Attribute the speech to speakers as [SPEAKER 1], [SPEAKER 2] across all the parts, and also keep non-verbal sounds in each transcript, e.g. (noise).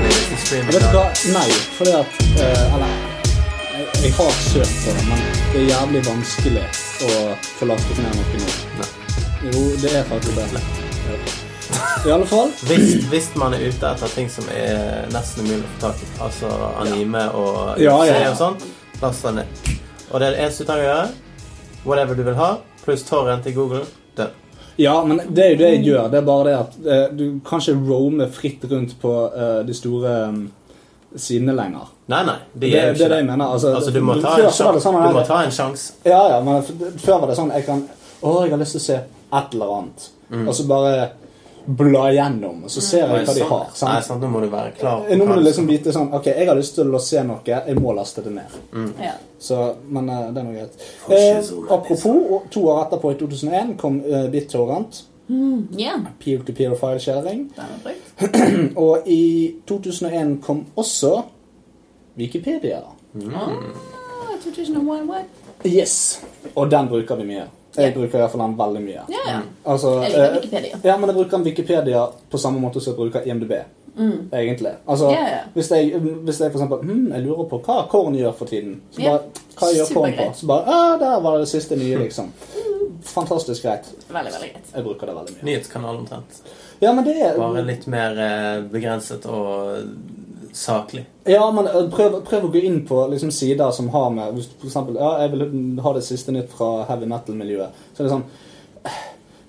[SPEAKER 1] inn i
[SPEAKER 2] Vet du
[SPEAKER 1] det.
[SPEAKER 2] hva? Nei, fordi at eh, Eller jeg, jeg har søkt på det, men det er jævlig vanskelig å få lastet ned noe nå.
[SPEAKER 1] Nei.
[SPEAKER 2] Jo, det er faktisk det. I alle fall
[SPEAKER 1] Hvis, hvis man er ute etter ting som er nesten umulig å få tak i, altså anime og
[SPEAKER 2] Ja, ja, ja.
[SPEAKER 1] og sånt, last den ned. Og det er det eneste du trenger å gjøre. Whatever du vil ha, pluss torrent i Google. Død.
[SPEAKER 2] Ja, men det er jo det jeg gjør. Det er bare det at eh, du kan ikke roame fritt rundt på eh, de store um, sidene lenger.
[SPEAKER 1] Nei, nei.
[SPEAKER 2] Det,
[SPEAKER 1] De
[SPEAKER 2] det
[SPEAKER 1] er
[SPEAKER 2] er
[SPEAKER 1] jo
[SPEAKER 2] det
[SPEAKER 1] ikke
[SPEAKER 2] jeg mener. Altså,
[SPEAKER 1] Altså, du må ta
[SPEAKER 2] før
[SPEAKER 1] en
[SPEAKER 2] så
[SPEAKER 1] sjanse. Du
[SPEAKER 2] var det sånn her-
[SPEAKER 1] må ta en sjanse.
[SPEAKER 2] Ja, ja, men f- før var det sånn jeg kan, Å, jeg har lyst til å se et eller annet. Og så bare bla igjennom, og så ser jeg hva de har.
[SPEAKER 1] Mm. Nei,
[SPEAKER 2] Sant?
[SPEAKER 1] sant, nå må du være klar.
[SPEAKER 2] Nå må du liksom vite sånn Ok, jeg har lyst til å se noe, jeg må laste det ned.
[SPEAKER 3] Ja.
[SPEAKER 2] Så, Men eh, det er noe greit. Eh, apropos, og to år etterpå, i 2001, kom eh, BitTorrent.
[SPEAKER 3] Ja,
[SPEAKER 2] Peer-to-peer file-sharing.
[SPEAKER 3] den er brukt.
[SPEAKER 2] Og i 2001 kom også Wikipedia.
[SPEAKER 3] Ah, 2001, what?
[SPEAKER 2] Yes. Og den bruker vi mye. Jeg bruker i hvert fall den veldig mye.
[SPEAKER 3] Ja, ja.
[SPEAKER 2] Altså,
[SPEAKER 3] Jeg liker
[SPEAKER 2] eh,
[SPEAKER 3] Wikipedia.
[SPEAKER 2] Ja, men jeg bruker en Wikipedia på samme måte som jeg bruker IMDb. Egentlig. Altså,
[SPEAKER 3] Mm. Ja, ja.
[SPEAKER 2] Hvis, jeg, hvis jeg for eksempel hm, jeg lurer på hva Korn gjør for tiden, så
[SPEAKER 3] Ja.
[SPEAKER 2] bare, hva gjør Korn på?
[SPEAKER 3] Supergreit.
[SPEAKER 2] Så bare ah, Der var det det siste nye, liksom. Fantastisk greit.
[SPEAKER 3] Veldig, veldig greit.
[SPEAKER 2] Jeg bruker det veldig mye.
[SPEAKER 1] Nyhetskanal omtrent.
[SPEAKER 2] Ja, men det er
[SPEAKER 1] Bare litt mer eh, begrenset og saklig.
[SPEAKER 2] Ja, men eh, prøv, prøv å gå inn på liksom, sider som har med hvis du For eksempel, ja, jeg vil ha det siste nytt fra heavy metal-miljøet. Så er det sånn eh,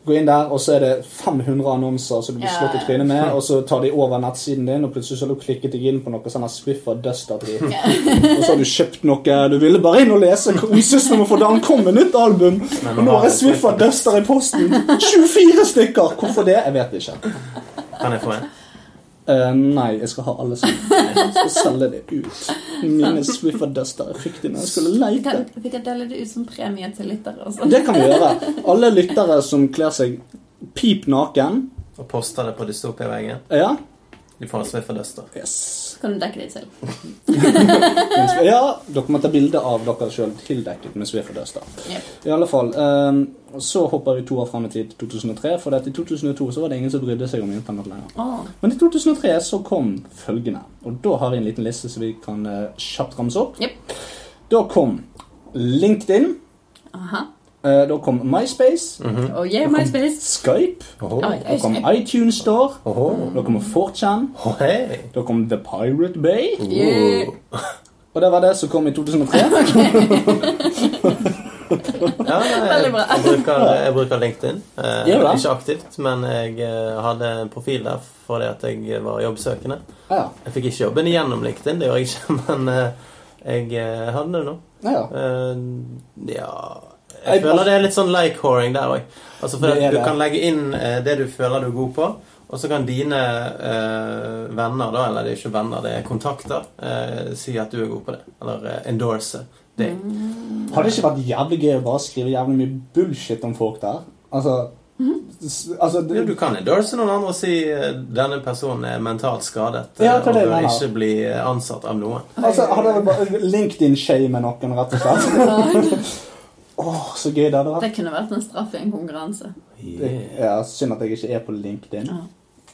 [SPEAKER 2] Gå inn der, og så er det 500 annonser som du blir
[SPEAKER 3] Ja,
[SPEAKER 2] slått i
[SPEAKER 3] ja.
[SPEAKER 2] trynet med, og så tar de over nettsiden din, og plutselig så har du klikket deg inn på noe sånn her Swiffer Duster-drit. Og så har du kjøpt noe Du ville bare inn og lese kosesnummer, for da kom et nytt album!
[SPEAKER 1] Men
[SPEAKER 2] Og nå
[SPEAKER 1] har
[SPEAKER 2] har jeg
[SPEAKER 1] jeg
[SPEAKER 2] Swiffer Duster i
[SPEAKER 1] (laughs)
[SPEAKER 2] posten! 24 stykker! Hvorfor det? Jeg vet ikke.
[SPEAKER 1] Kan jeg få en?
[SPEAKER 2] Eh, nei, jeg skal ha alle
[SPEAKER 3] (laughs)
[SPEAKER 2] sammen. Jeg skal selge det ut. Mine Swiffer Duster jeg fikk de når jeg skulle
[SPEAKER 3] Vi
[SPEAKER 2] leite.
[SPEAKER 3] kan, vi kan dele det ut som premie til lyttere
[SPEAKER 2] (laughs)
[SPEAKER 3] også.
[SPEAKER 2] Det kan vi gjøre. Alle lyttere som kler seg pip naken
[SPEAKER 1] Og poster det på dystopiaveggen.
[SPEAKER 2] Ja.
[SPEAKER 1] De får altså en Swiffer-duster.
[SPEAKER 2] Yes.
[SPEAKER 3] Så kan du dekke deg selv.
[SPEAKER 2] ja dere må ta bilde av dere sjøl tildekket med Swiffer Duster.
[SPEAKER 3] Yep.
[SPEAKER 2] I alle fall, eh, Så hopper vi to år fram i tid, 2003. For at i 2002 så var det ingen som brydde seg om Internett lenger.
[SPEAKER 3] Åh,
[SPEAKER 2] Men i 2003 så kom følgende. Og da har vi en liten liste som vi kan eh, kjapt ramse opp.
[SPEAKER 3] Jep.
[SPEAKER 2] Da kom LinkedIn.
[SPEAKER 3] aha.
[SPEAKER 2] Eh, Da kom MySpace,
[SPEAKER 3] Oh yeah, MySpace.
[SPEAKER 2] Skype,
[SPEAKER 3] Oi,
[SPEAKER 2] da kom iTunes Store, da kom 4chan,
[SPEAKER 1] Å, hei!
[SPEAKER 2] da kom The Pirate Bay,
[SPEAKER 3] Yeah.
[SPEAKER 2] og det var det som kom i 2003.
[SPEAKER 1] Ja, jeg,
[SPEAKER 3] Veldig bra.
[SPEAKER 1] jeg, bruker, jeg bruker LinkedIn. Eh,
[SPEAKER 2] Gjør du det?
[SPEAKER 1] ikke aktivt, men jeg eh, hadde en profil der fordi at jeg var jobbsøkende.
[SPEAKER 2] Ja,
[SPEAKER 1] Jeg fikk ikke jobben gjennom LinkedIn, det gjør jeg ikke, (laughs) men eh, jeg eh, hadde det nå.
[SPEAKER 2] ja, ja.
[SPEAKER 1] Eh, ja Jeg
[SPEAKER 2] Jeg-
[SPEAKER 1] føler det er litt sånn like-horing der òg. Altså for
[SPEAKER 2] Det er
[SPEAKER 1] at du
[SPEAKER 2] det.
[SPEAKER 1] kan legge inn eh, det du føler du er god på, og så kan dine eh, venner, da, eller det er ikke venner, det er kontakter, eh, si at du er god på det. Eller eh, endorse det.
[SPEAKER 2] Mm. Hadde det ikke vært jævlig gøy å bare skrive jævlig mye bullshit om folk der? Altså, s- altså
[SPEAKER 1] Jo, du
[SPEAKER 2] det,
[SPEAKER 1] kan endorse noen andre og si eh, denne personen er mentalt skadet eh,
[SPEAKER 2] Ja, hva er
[SPEAKER 1] og
[SPEAKER 2] det jeg
[SPEAKER 1] bør
[SPEAKER 2] mener?
[SPEAKER 1] ikke bli eh, ansatt av noen.
[SPEAKER 2] altså hadde jeg bare LinkedIn-shame noen, rett og slett. (laughs) Åh, så gøy det hadde vært.
[SPEAKER 3] Det kunne vært en straff i en konkurranse.
[SPEAKER 2] Det- Ja, synd at jeg ikke er på LinkedIn.
[SPEAKER 3] Ja.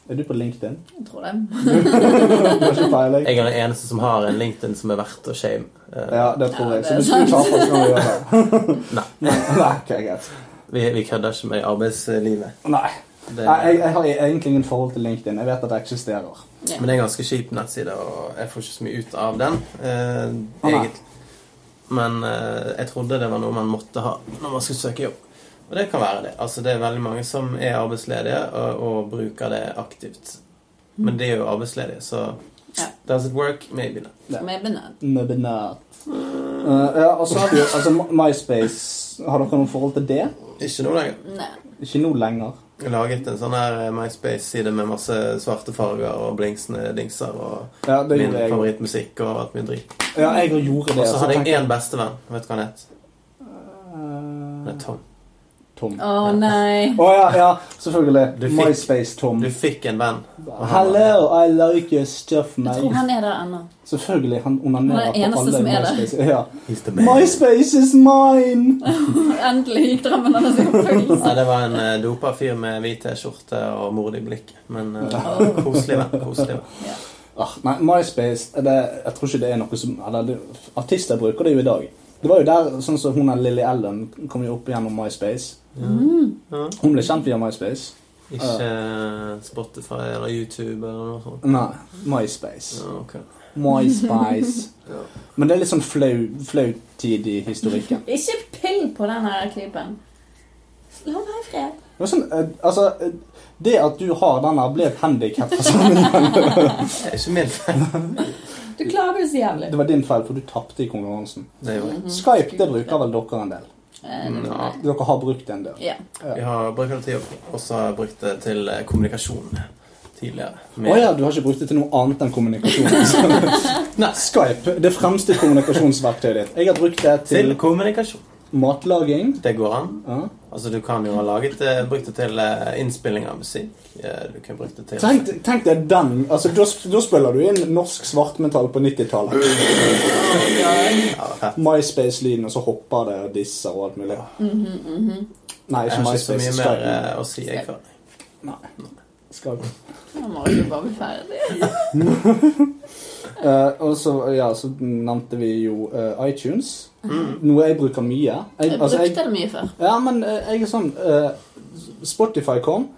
[SPEAKER 2] Er du på LinkedIn?
[SPEAKER 3] Jeg tror
[SPEAKER 2] (laughs)
[SPEAKER 3] det.
[SPEAKER 2] Du har ikke peiling?
[SPEAKER 1] Jeg er den eneste som har en LinkedIn som er verdt å shame. Eh,
[SPEAKER 2] Ja, det tror
[SPEAKER 3] Ja,
[SPEAKER 2] jeg.
[SPEAKER 3] det
[SPEAKER 2] Så
[SPEAKER 3] er
[SPEAKER 2] hvis du taper, så kan du gjøre det.
[SPEAKER 1] (laughs) Nei.
[SPEAKER 2] Nei, nei, ok, greit.
[SPEAKER 1] Vi, vi kødder ikke med arbeidslivet.
[SPEAKER 2] Nei.
[SPEAKER 1] Det,
[SPEAKER 2] Nei, Jeg, jeg har egentlig ingen forhold til LinkedIn. Jeg vet at det eksisterer.
[SPEAKER 1] Men det er en ganske kjip nettside, og jeg får ikke så mye ut av den. Eh,
[SPEAKER 2] Å, nei.
[SPEAKER 1] egentlig. Men eh, jeg trodde det var noe man måtte ha når man skulle søke jobb. Og det kan være det. Altså, det er veldig mange som er arbeidsledige og, og bruker det aktivt. Men de er jo arbeidsledige, så
[SPEAKER 3] Ja.
[SPEAKER 1] Does it work? Maybe not.
[SPEAKER 2] Ja.
[SPEAKER 3] Med benød.
[SPEAKER 2] Mubinat.
[SPEAKER 3] Mm.
[SPEAKER 2] Uh, ja, og så har vi jo altså, MySpace. Har dere noe forhold til det?
[SPEAKER 1] Ikke noe lenger.
[SPEAKER 3] Nei.
[SPEAKER 2] Ikke nå lenger.
[SPEAKER 1] Jeg laget en sånn her eh, MySpace-side med masse svarte farger og blingsende dingser og
[SPEAKER 2] Ja, det
[SPEAKER 1] min
[SPEAKER 2] gjorde jeg.
[SPEAKER 1] favorittmusikk og alt mye drit.
[SPEAKER 2] Ja, jeg gjorde det.
[SPEAKER 1] Og så hadde
[SPEAKER 2] tenkte
[SPEAKER 1] jeg én bestevenn. Vet du hva han het? Han het Tom.
[SPEAKER 2] eh, Tom.
[SPEAKER 3] Å nei.
[SPEAKER 2] Å ja, ja,
[SPEAKER 1] Du
[SPEAKER 2] selvfølgelig.
[SPEAKER 1] fikk-
[SPEAKER 2] MySpace-Tom.
[SPEAKER 1] Du fikk en venn.
[SPEAKER 2] Hello, I like your stuff,
[SPEAKER 3] Jeg tror
[SPEAKER 2] mate.
[SPEAKER 3] han er der ennå. (laughs)
[SPEAKER 2] Selvfølgelig. Han
[SPEAKER 3] Han
[SPEAKER 2] onanerer
[SPEAKER 3] er den
[SPEAKER 2] på
[SPEAKER 3] eneste
[SPEAKER 2] alle
[SPEAKER 3] som er der.
[SPEAKER 2] MySpace. Ja.
[SPEAKER 1] He's the
[SPEAKER 2] MySpace is mine!
[SPEAKER 3] Endelig gikk drømmen hans i oppfyllelse.
[SPEAKER 1] Nei, det var en eh,
[SPEAKER 2] (laughs)
[SPEAKER 1] dopa fyr med hvit T-skjorte og mordig blikk. Men eh, koselig venn. koselig venn.
[SPEAKER 3] Ja.
[SPEAKER 2] Ah, nei, MySpace det, Jeg tror ikke det er noe som eller, det, Artister bruker det jo i dag. Det var jo der sånn som hun der Lily Allen kom jo opp gjennom MySpace. Mm.
[SPEAKER 3] Mm.
[SPEAKER 1] Ja.
[SPEAKER 2] Hun ble kjent via MySpace.
[SPEAKER 1] Ikke eh, Spotify eller YouTube eller noe sånt.
[SPEAKER 2] Nei, MySpace.
[SPEAKER 1] Ja, ok.
[SPEAKER 2] MySpace.
[SPEAKER 1] Ja.
[SPEAKER 2] Men det er litt sånn flau, flau tid i historikken.
[SPEAKER 3] Ikke pill på den her klippen. La meg i fred.
[SPEAKER 2] Det, var sånn, eh, altså, eh, det at du har den der, ble et handikap for sammenhengen.
[SPEAKER 1] Det er ikke min feil.
[SPEAKER 3] Du klager jo så jævlig.
[SPEAKER 2] det var din feil, for du tapte i konkurransen.
[SPEAKER 1] Det gjorde jeg.
[SPEAKER 2] Skype det bruker vel dere en del?
[SPEAKER 3] Eh, det-
[SPEAKER 1] Mm, Ja.
[SPEAKER 2] Dere har brukt det en del.
[SPEAKER 3] Ja.
[SPEAKER 1] Vi har brukt det til jobb, og så har jeg brukt det til eh, kommunikasjon tidligere.
[SPEAKER 2] Å ja, du har ikke brukt det til noe annet enn kommunikasjon?
[SPEAKER 1] (laughs)
[SPEAKER 2] Nei. Skype, det fremste kommunikasjonsverktøyet ditt. Jeg har brukt det til
[SPEAKER 1] Til kommunikasjon.
[SPEAKER 2] matlaging.
[SPEAKER 1] Det går an.
[SPEAKER 2] Ja.
[SPEAKER 1] Altså, du kan jo ha laget det, brukt det til eh, innspilling av musikk. Eh, Du kan brukt det til
[SPEAKER 2] Tenk, tenk deg den. Altså, Da da spiller du inn norsk svartmetall på 90-tallet.
[SPEAKER 1] Ja, fett.
[SPEAKER 2] MySpace-lyden, og så hopper det og disser og alt mulig.
[SPEAKER 3] Mhm,
[SPEAKER 2] Nei,
[SPEAKER 1] Jeg
[SPEAKER 2] ikke
[SPEAKER 1] har ikke så
[SPEAKER 2] MySpace.
[SPEAKER 1] mye mer
[SPEAKER 2] Skype.
[SPEAKER 1] eh, å si, jeg, før.
[SPEAKER 2] Skype.
[SPEAKER 3] Nå må du bare bli ferdig.
[SPEAKER 2] Eh, og så, ja, så nevnte vi jo eh, iTunes,
[SPEAKER 1] Mm.
[SPEAKER 2] noe jeg bruker mye.
[SPEAKER 3] Jeg
[SPEAKER 2] altså, jeg-
[SPEAKER 3] brukte det mye før.
[SPEAKER 2] Ja, men eh, jeg er sånn eh, Spotify kom,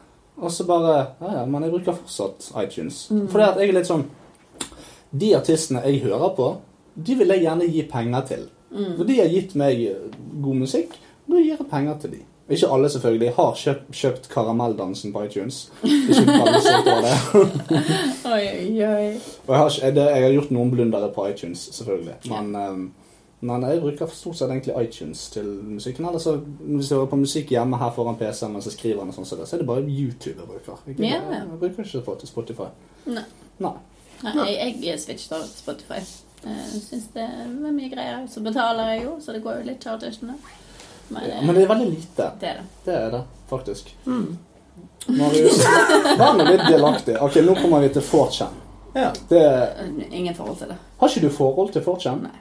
[SPEAKER 2] og så bare Ja, ja, men jeg bruker fortsatt iTunes. Fordi at jeg er litt sånn De artistene jeg hører på, de vil jeg gjerne gi penger til.
[SPEAKER 3] Mm.
[SPEAKER 2] For de har gitt meg eh, god musikk, og da gir jeg penger til de. Ikke alle, selvfølgelig. Jeg har kjøpt, kjøpt Karamelldansen på iTunes. Ikke alle som får det.
[SPEAKER 3] Oi, oi, oi.
[SPEAKER 2] Og jeg har, ikke, det, jeg har gjort noen blundere på iTunes, selvfølgelig. Men, eh, men jeg bruker stort sett egentlig iTunes til musikken. Eller så hvis jeg hører på musikk hjemme her foran PC-en mens jeg skriver, den og sånn som det, så er det bare YouTube jeg bruker. Jeg,
[SPEAKER 3] Ja.
[SPEAKER 2] jeg bruker ikke på til Spotify.
[SPEAKER 3] Nei.
[SPEAKER 2] Nei.
[SPEAKER 3] Nei, jeg, jeg switchet over til Spotify. Jeg syns det var mye greier. Så betaler jeg jo, så det går jo litt til artistene. Men,
[SPEAKER 2] Ja,
[SPEAKER 3] eh,
[SPEAKER 2] men det Mm. er veldig lite.
[SPEAKER 3] det er det.
[SPEAKER 2] Det er det, faktisk. Marius, vær nå litt delaktig. Ok, nå kommer vi til 4chan.
[SPEAKER 1] Ja.
[SPEAKER 2] Det,
[SPEAKER 3] Eh, Ingen forhold til det.
[SPEAKER 2] har ikke du forhold til 4chan?
[SPEAKER 3] Nei.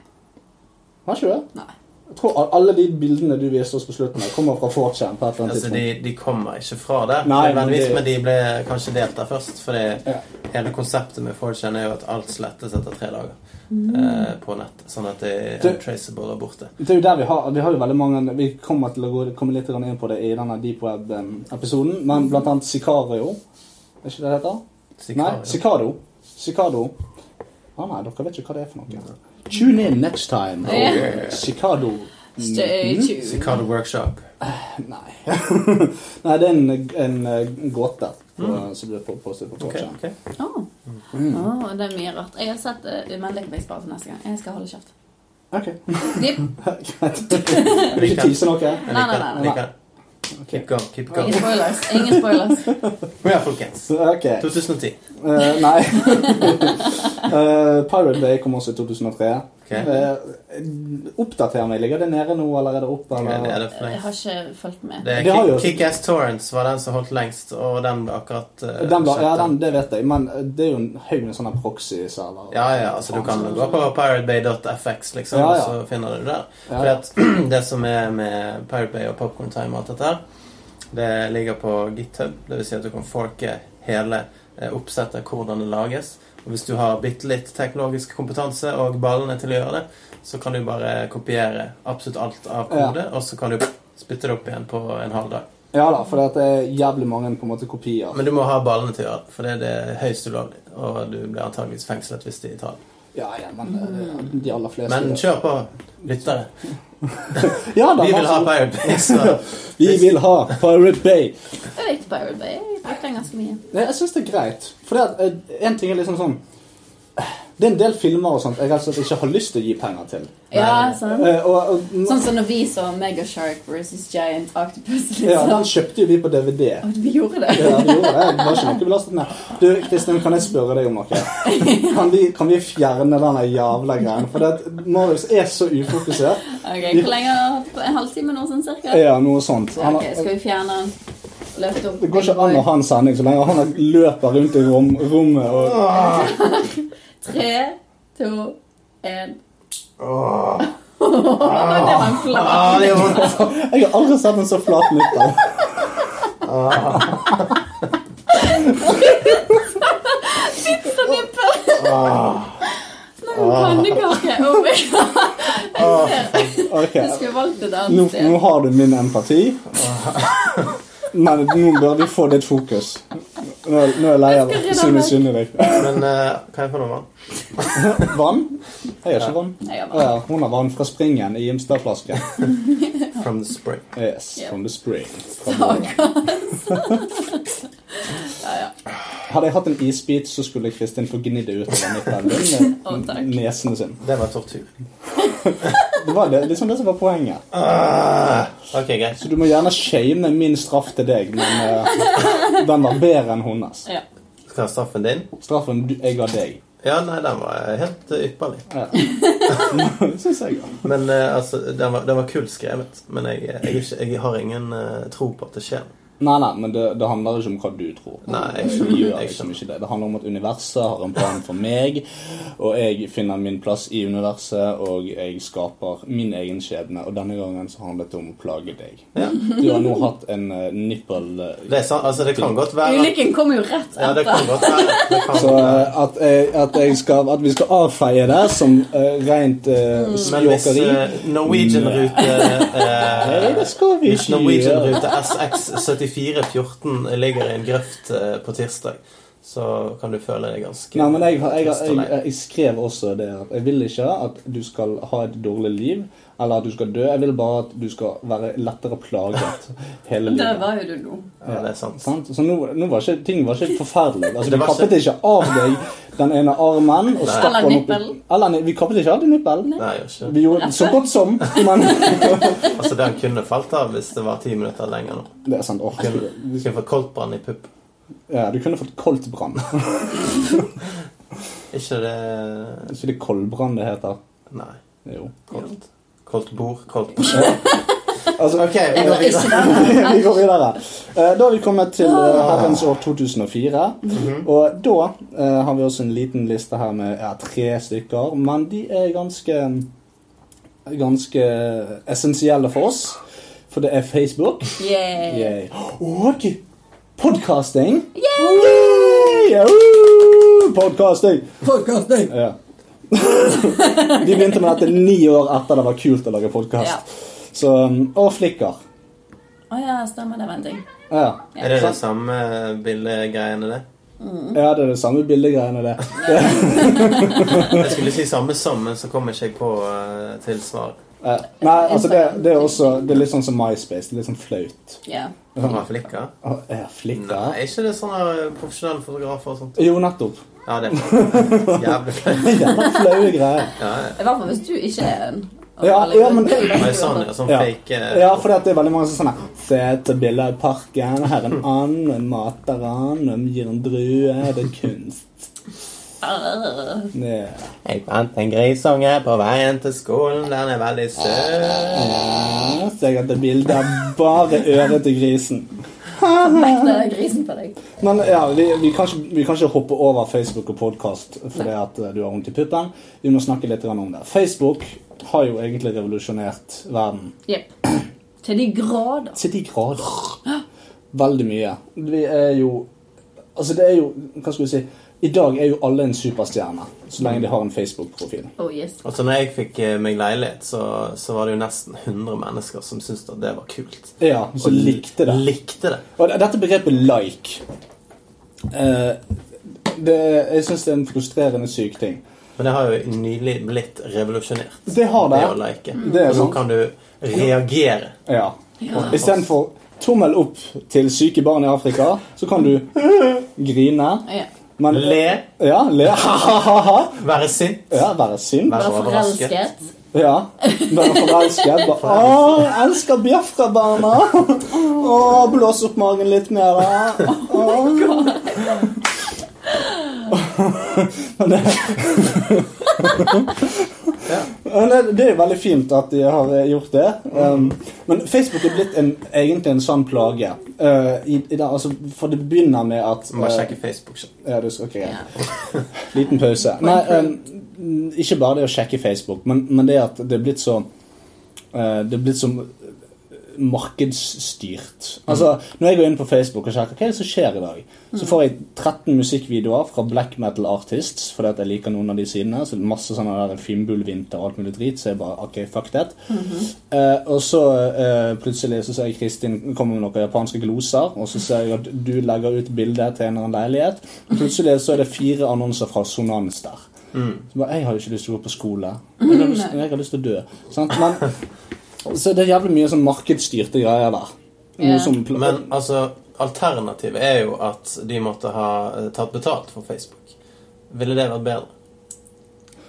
[SPEAKER 2] Har ikke du det?
[SPEAKER 3] Nei.
[SPEAKER 2] Jeg tror a- alle de bildene du viste oss på slutten, her kommer fra 4chan. på et eller annet
[SPEAKER 1] Altså,
[SPEAKER 2] tidspunkt.
[SPEAKER 1] de, de kommer ikke fra der,
[SPEAKER 2] Nei, men
[SPEAKER 1] nødvendigvis,
[SPEAKER 2] det-
[SPEAKER 1] men de ble kanskje delt der først. Fordi
[SPEAKER 2] Ja.
[SPEAKER 1] hele konseptet med 4chan er jo at alt slettes etter tre dager
[SPEAKER 3] Mm.
[SPEAKER 1] eh, på nett. Sånn at det er
[SPEAKER 2] Det-
[SPEAKER 1] untraceable og borte.
[SPEAKER 2] Det er jo der Vi har Vi har jo veldig mange Vi kommer til å gå, komme litt grann inn på det i denne Deep Web-episoden, men blant annet Sicario. Er ikke det det heter? Nei,
[SPEAKER 1] Sicario.
[SPEAKER 2] Sicado. Sicado. Å nei, dere vet ikke hva det er for noe. Tune in next
[SPEAKER 1] Oh,
[SPEAKER 2] time.
[SPEAKER 3] Ja.
[SPEAKER 2] Sicado
[SPEAKER 3] Stay
[SPEAKER 2] Mm-hmm.
[SPEAKER 3] tuned.
[SPEAKER 1] Sicario Workshop.
[SPEAKER 2] Nei. (laughs) nei, det er en, en eh, gåte på, som blir på- postet på
[SPEAKER 1] Mm.
[SPEAKER 2] Mm.
[SPEAKER 1] Ok,
[SPEAKER 2] Torchan.
[SPEAKER 1] ok.
[SPEAKER 3] Åh. Åh, det er mye rart. Jeg har sett eh, Men det kan jeg spare til neste gang. Jeg skal holde kjeft.
[SPEAKER 1] (laughs)
[SPEAKER 2] Ok.
[SPEAKER 3] Dipp.
[SPEAKER 2] Greit. Vil ikke tise noe?
[SPEAKER 1] Jeg liker
[SPEAKER 3] Nei, nei,
[SPEAKER 1] det.
[SPEAKER 3] nei,
[SPEAKER 1] jeg
[SPEAKER 2] nei.
[SPEAKER 1] liker det. Keep going. keep
[SPEAKER 3] Ingen
[SPEAKER 1] going.
[SPEAKER 3] spoilers. Ingen spoilers.
[SPEAKER 1] Ja, folkens.
[SPEAKER 2] Ok.
[SPEAKER 1] 2010.
[SPEAKER 2] Eh, nei. (laughs) Eh, Pirate Bay kom også i 2003.
[SPEAKER 1] Ok.
[SPEAKER 2] Eh, oppdater meg. Ligger det nede nå, eller er det oppe?
[SPEAKER 1] Ok, det er
[SPEAKER 2] Eller?
[SPEAKER 1] det for
[SPEAKER 3] Jeg
[SPEAKER 1] lengst.
[SPEAKER 3] Eh, har ikke fulgt med.
[SPEAKER 1] Det er
[SPEAKER 2] Det har jo-
[SPEAKER 1] Kick- Kick-Ass Torrents var den som holdt lengst, og den ble akkurat eh,
[SPEAKER 2] Den ble, ja,
[SPEAKER 1] slettet.
[SPEAKER 2] den, det vet jeg, men eh, det er jo en haug med sånne proxy-server.
[SPEAKER 1] Ja, ja, altså du kan gå på piratebay.fx, liksom,
[SPEAKER 2] Ja,
[SPEAKER 1] og
[SPEAKER 2] ja.
[SPEAKER 1] så finner du det der.
[SPEAKER 2] Ja.
[SPEAKER 1] Fordi at (clears throat) det som er med Pirate Bay og Popcorn Time og alt dette her, det ligger på GitHub. Det vil si at du kan forke hele eh, oppsettet, hvordan det lages. Og hvis du har bitte litt teknologisk kompetanse og ballene til å gjøre det, så kan du bare kopiere absolutt alt av kode, og så kan du spytte det opp igjen på en halv dag.
[SPEAKER 2] Ja da, for det er jævlig mange på en måte kopier.
[SPEAKER 1] Men du må ha ballene til å gjøre det, for det er det høyst ulovlig, og du blir antageligvis fengslet hvis de tar det.
[SPEAKER 2] Ja, ja, men eh, de aller fleste
[SPEAKER 1] Men kjør på, lyttere.
[SPEAKER 2] ja,
[SPEAKER 1] Vi
[SPEAKER 2] da,
[SPEAKER 1] vil ha
[SPEAKER 2] altså,
[SPEAKER 1] Pirate Bay,
[SPEAKER 2] (laughs)
[SPEAKER 1] så
[SPEAKER 2] vi vil ha Pirate Bay.
[SPEAKER 3] Jeg likte Pirate Bay. Jeg brukte den ganske mye.
[SPEAKER 2] Nei, jeg syns det er greit. For det at, eh, en ting er liksom sånn Det er en del filmer og sånt jeg rett og slett ikke har lyst til å gi penger til.
[SPEAKER 3] Ja, sånn.
[SPEAKER 2] Eh, og, og,
[SPEAKER 3] Sånn som når vi så Megashark versus Giant Octopus.
[SPEAKER 2] ja, den
[SPEAKER 3] Liksom.
[SPEAKER 2] kjøpte jo vi på DVD.
[SPEAKER 3] Å, Vi gjorde det.
[SPEAKER 2] Ja, det gjorde det. Det var ikke noe belastet med. Du, Kristin, kan jeg spørre deg om noe? Kan vi, kan vi fjerne den jævla greien? For det at Marius er så ufokusert.
[SPEAKER 3] Ok, Hvor lenge? En halvtime nå, sånn cirka?
[SPEAKER 2] Ja, noe sånt. Han,
[SPEAKER 3] Ok,
[SPEAKER 2] har-
[SPEAKER 3] skal vi fjerne den? Løft opp.
[SPEAKER 2] det går ikke an å ha en sending så lenge han løper rundt i rom, rommet og
[SPEAKER 3] Tre, to, én. (laughs) Det var en flatt.
[SPEAKER 1] Ah, det gjør vondt.
[SPEAKER 2] Jeg har aldri sett en så flat nytter.
[SPEAKER 3] Pizza nipple!
[SPEAKER 2] Ah,
[SPEAKER 3] Nei, men pannekake! Oh my god!
[SPEAKER 1] Åh,
[SPEAKER 3] Jeg ser.
[SPEAKER 2] ok.
[SPEAKER 3] Du skulle valgt et
[SPEAKER 2] Nå,
[SPEAKER 3] annet
[SPEAKER 2] nå
[SPEAKER 3] sted.
[SPEAKER 2] har du min empati. Men nå bør vi få ditt fokus. Nå, er- nå er jeg lei av å
[SPEAKER 3] Jeg skal rydde
[SPEAKER 2] synes synd i deg.
[SPEAKER 1] Men eh, kan jeg få noe vann?
[SPEAKER 2] Vann? Jeg gjør ikke vann.
[SPEAKER 3] Nei, jeg
[SPEAKER 2] Å
[SPEAKER 3] bare-
[SPEAKER 2] ja, hun har vann fra springen i Imstad-flasken.
[SPEAKER 1] From the spring.
[SPEAKER 2] Yes,
[SPEAKER 3] Ja.
[SPEAKER 2] from the spring.
[SPEAKER 3] Stakkars.
[SPEAKER 2] (laughs)
[SPEAKER 3] Ja, ja.
[SPEAKER 2] Hadde jeg hatt en isbit, så skulle Kristin få gnidd det utover midtveien
[SPEAKER 3] (laughs) Å,
[SPEAKER 2] med
[SPEAKER 3] takk.
[SPEAKER 2] nesene sine.
[SPEAKER 1] Det var tortur.
[SPEAKER 2] Det var det, liksom det som var poenget.
[SPEAKER 1] Ah, ok, greit.
[SPEAKER 2] Så du må gjerne shame min straff til deg, men eh, den var bedre enn hennes.
[SPEAKER 3] ja.
[SPEAKER 1] Skal jeg ha straffen din?
[SPEAKER 2] Straffen du, jeg ga deg.
[SPEAKER 1] Ja, nei, den var helt eh, ypperlig.
[SPEAKER 3] (laughs)
[SPEAKER 2] Ja. (laughs) Det synes jeg. ja.
[SPEAKER 1] Men eh, altså, den var, den var kult skrevet. Men jeg, eh, jeg, er ikke, jeg har ingen eh, tro på at det skjer.
[SPEAKER 2] Nei, nei, men det, det handler ikke om hva du tror.
[SPEAKER 1] Nei, jeg
[SPEAKER 2] Det
[SPEAKER 1] skjønner.
[SPEAKER 2] gjør
[SPEAKER 1] Jeg
[SPEAKER 2] liksom
[SPEAKER 1] skjønner.
[SPEAKER 2] ikke det. Det handler om at universet har en plan for meg, og jeg finner min plass i universet, og jeg skaper min egen skjebne. Og denne gangen så handlet det om å plage deg.
[SPEAKER 1] Ja.
[SPEAKER 2] Du har nå hatt en uh, nipple... eh,
[SPEAKER 1] Det er sant, altså, det kan godt være at-
[SPEAKER 3] Ulykken kom jo rett
[SPEAKER 1] Ja, det kan
[SPEAKER 3] etter.
[SPEAKER 1] godt være. Det kan
[SPEAKER 2] Så
[SPEAKER 1] godt være.
[SPEAKER 2] eh, at, jeg, at, jeg skal, at vi skal avfeie det som eh, rent uh,
[SPEAKER 1] Mm. Men hvis
[SPEAKER 2] spjåkeri
[SPEAKER 1] eh, Norwegian-rute
[SPEAKER 2] Nei,
[SPEAKER 1] eh,
[SPEAKER 2] det skal vi
[SPEAKER 1] Hvis
[SPEAKER 2] ikke gjøre.
[SPEAKER 1] Norwegian-rute SX7414 ligger i en grøft eh, på tirsdag, så kan du føle deg ganske
[SPEAKER 2] Nei, men jeg, jeg,
[SPEAKER 1] trist og
[SPEAKER 2] jeg,
[SPEAKER 1] lei.
[SPEAKER 2] jeg, jeg skrev også det at jeg vil ikke at du skal ha et dårlig liv, eller at du skal dø. Jeg vil bare at du skal være lettere plaget
[SPEAKER 1] (laughs)
[SPEAKER 2] hele
[SPEAKER 3] Der
[SPEAKER 2] livet.
[SPEAKER 3] var jo du nå.
[SPEAKER 1] Ja, det er sant.
[SPEAKER 2] Sant? Så nå, nå var ikke, ting var ikke forferdelig.
[SPEAKER 1] (laughs)
[SPEAKER 2] Altså,
[SPEAKER 1] Det
[SPEAKER 2] vi
[SPEAKER 1] var
[SPEAKER 2] kappet ikke av deg den ene armen. Og
[SPEAKER 1] Nei.
[SPEAKER 2] stakk den
[SPEAKER 3] Eller
[SPEAKER 2] opp i-
[SPEAKER 3] nippelen.
[SPEAKER 2] Eller ni- Vi kappet ikke av din nippel.
[SPEAKER 1] Nei, jeg gjør ikke det.
[SPEAKER 2] Vi gjorde så godt som, men (laughs)
[SPEAKER 1] Altså, den kunne falt av hvis det var ti minutter lenger nå.
[SPEAKER 2] Det er sant. Åh, jeg
[SPEAKER 1] Kunne,
[SPEAKER 2] skulle-
[SPEAKER 1] kunne fått koldtbrann i pupp.
[SPEAKER 2] ja, du kunne fått (laughs) koldtbrann.
[SPEAKER 1] Ikke det
[SPEAKER 2] Er ikke det koldbrann det heter?
[SPEAKER 1] Nei.
[SPEAKER 2] Jo.
[SPEAKER 1] Koldt. Koldt bord, koldt
[SPEAKER 2] Altså,
[SPEAKER 1] (laughs) OK, vi
[SPEAKER 3] Jeg
[SPEAKER 1] går
[SPEAKER 3] var
[SPEAKER 1] videre.
[SPEAKER 3] ikke
[SPEAKER 2] (laughs)
[SPEAKER 3] der.
[SPEAKER 2] vi går videre. Eh, Da har vi kommet til eh, herrens år 2004. Og da eh, har vi også en liten liste her med ja, tre stykker, men de er ganske Ganske essensielle for oss. For det er Facebook.
[SPEAKER 3] Yeah.
[SPEAKER 2] Yay. Og podcasting. Yay! Podcasting.
[SPEAKER 3] Podcasting.
[SPEAKER 2] Ja. Vi begynte med dette ni år etter det var kult å lage
[SPEAKER 3] Ja.
[SPEAKER 2] podkast. Og Flikker.
[SPEAKER 3] Å ja, stemmer. Det var en ting.
[SPEAKER 2] Ja.
[SPEAKER 1] Er det det samme bildegreiene, det?
[SPEAKER 2] Ja, det er det samme bildegreiene, det.
[SPEAKER 1] Jeg skulle si samme som, men så kom ikke jeg på uh, til svar.
[SPEAKER 2] Eh, Nei, altså, det, det er også Det er litt sånn som MySpace. Det er litt sånn flaut.
[SPEAKER 3] Ja.
[SPEAKER 1] Fra Flikka?
[SPEAKER 2] Å, Er
[SPEAKER 1] Nei,
[SPEAKER 2] flikker?
[SPEAKER 1] er ikke det sånne eh, profesjonelle fotografer og sånt?
[SPEAKER 2] Jo, nettopp.
[SPEAKER 1] Ja, (laughs) det er flaut. Jævlig flaut.
[SPEAKER 2] Jævla flaue greier.
[SPEAKER 1] Ja, ja.
[SPEAKER 3] I hvert fall hvis du ikke er en.
[SPEAKER 2] Ja, ja, men-
[SPEAKER 1] Men sånn, ja, sånn
[SPEAKER 2] Ja.
[SPEAKER 1] fake eh,
[SPEAKER 2] Ja, for det er veldig mange som er sånn her, Se etter bilder i parken. Her er en and, en mater and, en gir en drue. Det er kunst.
[SPEAKER 3] Arr.
[SPEAKER 2] Ja.
[SPEAKER 1] Jeg fant en grisunge på veien til skolen, den er veldig søt.
[SPEAKER 2] Ja, Så jeg hadde bilder av bare øret til grisen.
[SPEAKER 3] Mekter jeg grisen på deg.
[SPEAKER 2] Men ja, vi, vi, kan ikke, vi kan ikke hoppe over Facebook og podkast fordi at eh, du har vondt i puppen. Vi må snakke litt grann om det. Facebook har jo egentlig revolusjonert verden
[SPEAKER 3] Jepp. Til de grader.
[SPEAKER 2] til de grader. Veldig mye. Vi er jo Altså, det er jo Hva skal vi si? I dag er jo alle en superstjerne så lenge de har en Facebook-profil.
[SPEAKER 3] Oh yes.
[SPEAKER 1] Og så når jeg fikk eh, meg leilighet, så, så var det jo nesten 100 mennesker som syntes at det var kult.
[SPEAKER 2] Ja, så
[SPEAKER 1] Og
[SPEAKER 2] likte det.
[SPEAKER 1] Likte det.
[SPEAKER 2] Og det- dette begrepet 'like' eh, det, Jeg syns det er en frustrerende syk ting.
[SPEAKER 1] Men det har jo nylig blitt revolusjonert.
[SPEAKER 2] Det har det.
[SPEAKER 1] Det å like.
[SPEAKER 2] Det er
[SPEAKER 1] Og nå
[SPEAKER 2] sant.
[SPEAKER 1] kan du reagere.
[SPEAKER 2] Ja.
[SPEAKER 3] Ja.
[SPEAKER 2] Og Istedenfor tommel opp til syke barn i Afrika, så kan du (laughs) grine.
[SPEAKER 3] Ja.
[SPEAKER 2] Men,
[SPEAKER 1] Le,
[SPEAKER 2] Ja, le. (laughs) Ha-ha-ha.
[SPEAKER 1] være sint.
[SPEAKER 2] Ja, være sint.
[SPEAKER 1] Være
[SPEAKER 3] Bare
[SPEAKER 1] overrasket.
[SPEAKER 3] forelsket.
[SPEAKER 2] Ja. Være forelsket. Bare, Å, elsker Biafra-barna. Å, blås opp magen litt mer. da. Å. Men det,
[SPEAKER 1] Ja.
[SPEAKER 2] Ja, nei, Det er jo veldig fint at de har eh, gjort det. Um, men Facebook er blitt en, egentlig en sann plage. Uh, i, i dag, altså, for det begynner med at
[SPEAKER 1] Må bare
[SPEAKER 2] eh,
[SPEAKER 1] sjekke Facebook. selv.
[SPEAKER 2] ja, du skal, ok, greit.
[SPEAKER 3] Ja.
[SPEAKER 2] (laughs) Liten pause. Nei, um, ikke bare det å sjekke Facebook, men, men det at det er blitt så eh, Det er blitt så markedsstyrt. Altså, Når jeg går inn på Facebook og sjekker hva er det som skjer i dag, så får jeg 13 musikkvideoer fra black metal artists fordi at jeg liker noen av de sidene. Så det er masse sånne der Finnbullvinter og alt mulig drit, så jeg bare OK, fuck that. Eh, og så eh, plutselig så ser jeg Kristin komme med noen japanske gloser, og så ser jeg at du legger ut bilde til en eller annen leilighet. Plutselig så er det fire annonser fra Sonans der. Så bare, jeg har jo ikke lyst til å gå på
[SPEAKER 3] (laughs)
[SPEAKER 2] skole. Jeg har lyst, jeg har lyst til å dø. Sant? Men, så det er jævlig mye sånn markedsstyrte greier der.
[SPEAKER 3] Ja.
[SPEAKER 2] Noe som pl-
[SPEAKER 1] Men altså, alternativet er jo at de måtte ha eh, tatt betalt for Facebook. Ville det vært bedre?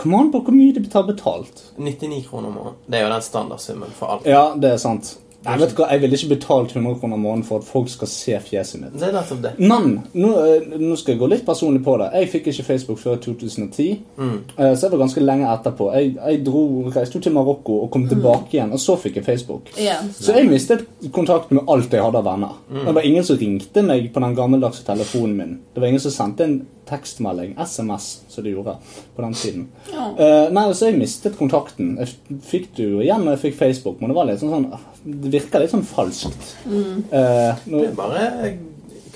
[SPEAKER 2] Kom an på hvor mye de tar betalt.
[SPEAKER 1] 99 kroner måneden. Det er jo den standardsummen for alt.
[SPEAKER 2] Ja, det er sant. Jeg vet hva, jeg ville ikke betalt 100 kroner om måneden for at folk skal se fjeset mitt.
[SPEAKER 1] Det er nettopp det.
[SPEAKER 2] Men nå, eh, nå skal jeg gå litt personlig på det. Jeg fikk ikke Facebook før 2010. eh, Så jeg var ganske lenge etterpå. Jeg, jeg, dro, jeg sto til Marokko og kom tilbake igjen, og så fikk jeg Facebook.
[SPEAKER 3] Mm. Ja.
[SPEAKER 2] Så jeg mistet kontakt med alt jeg hadde av venner. Det var ingen som ringte meg på den gammeldagse telefonen min. Det var ingen som sendte en tekstmelding, SMS, som de gjorde på den tiden.
[SPEAKER 3] Ja.
[SPEAKER 2] Eh, nei, så jeg mistet kontakten. Jeg f- fikk det jo igjen når jeg fikk Facebook, men det var litt sånn, sånn ah, Det virka litt sånn falskt. Eh, nå,
[SPEAKER 1] Det er bare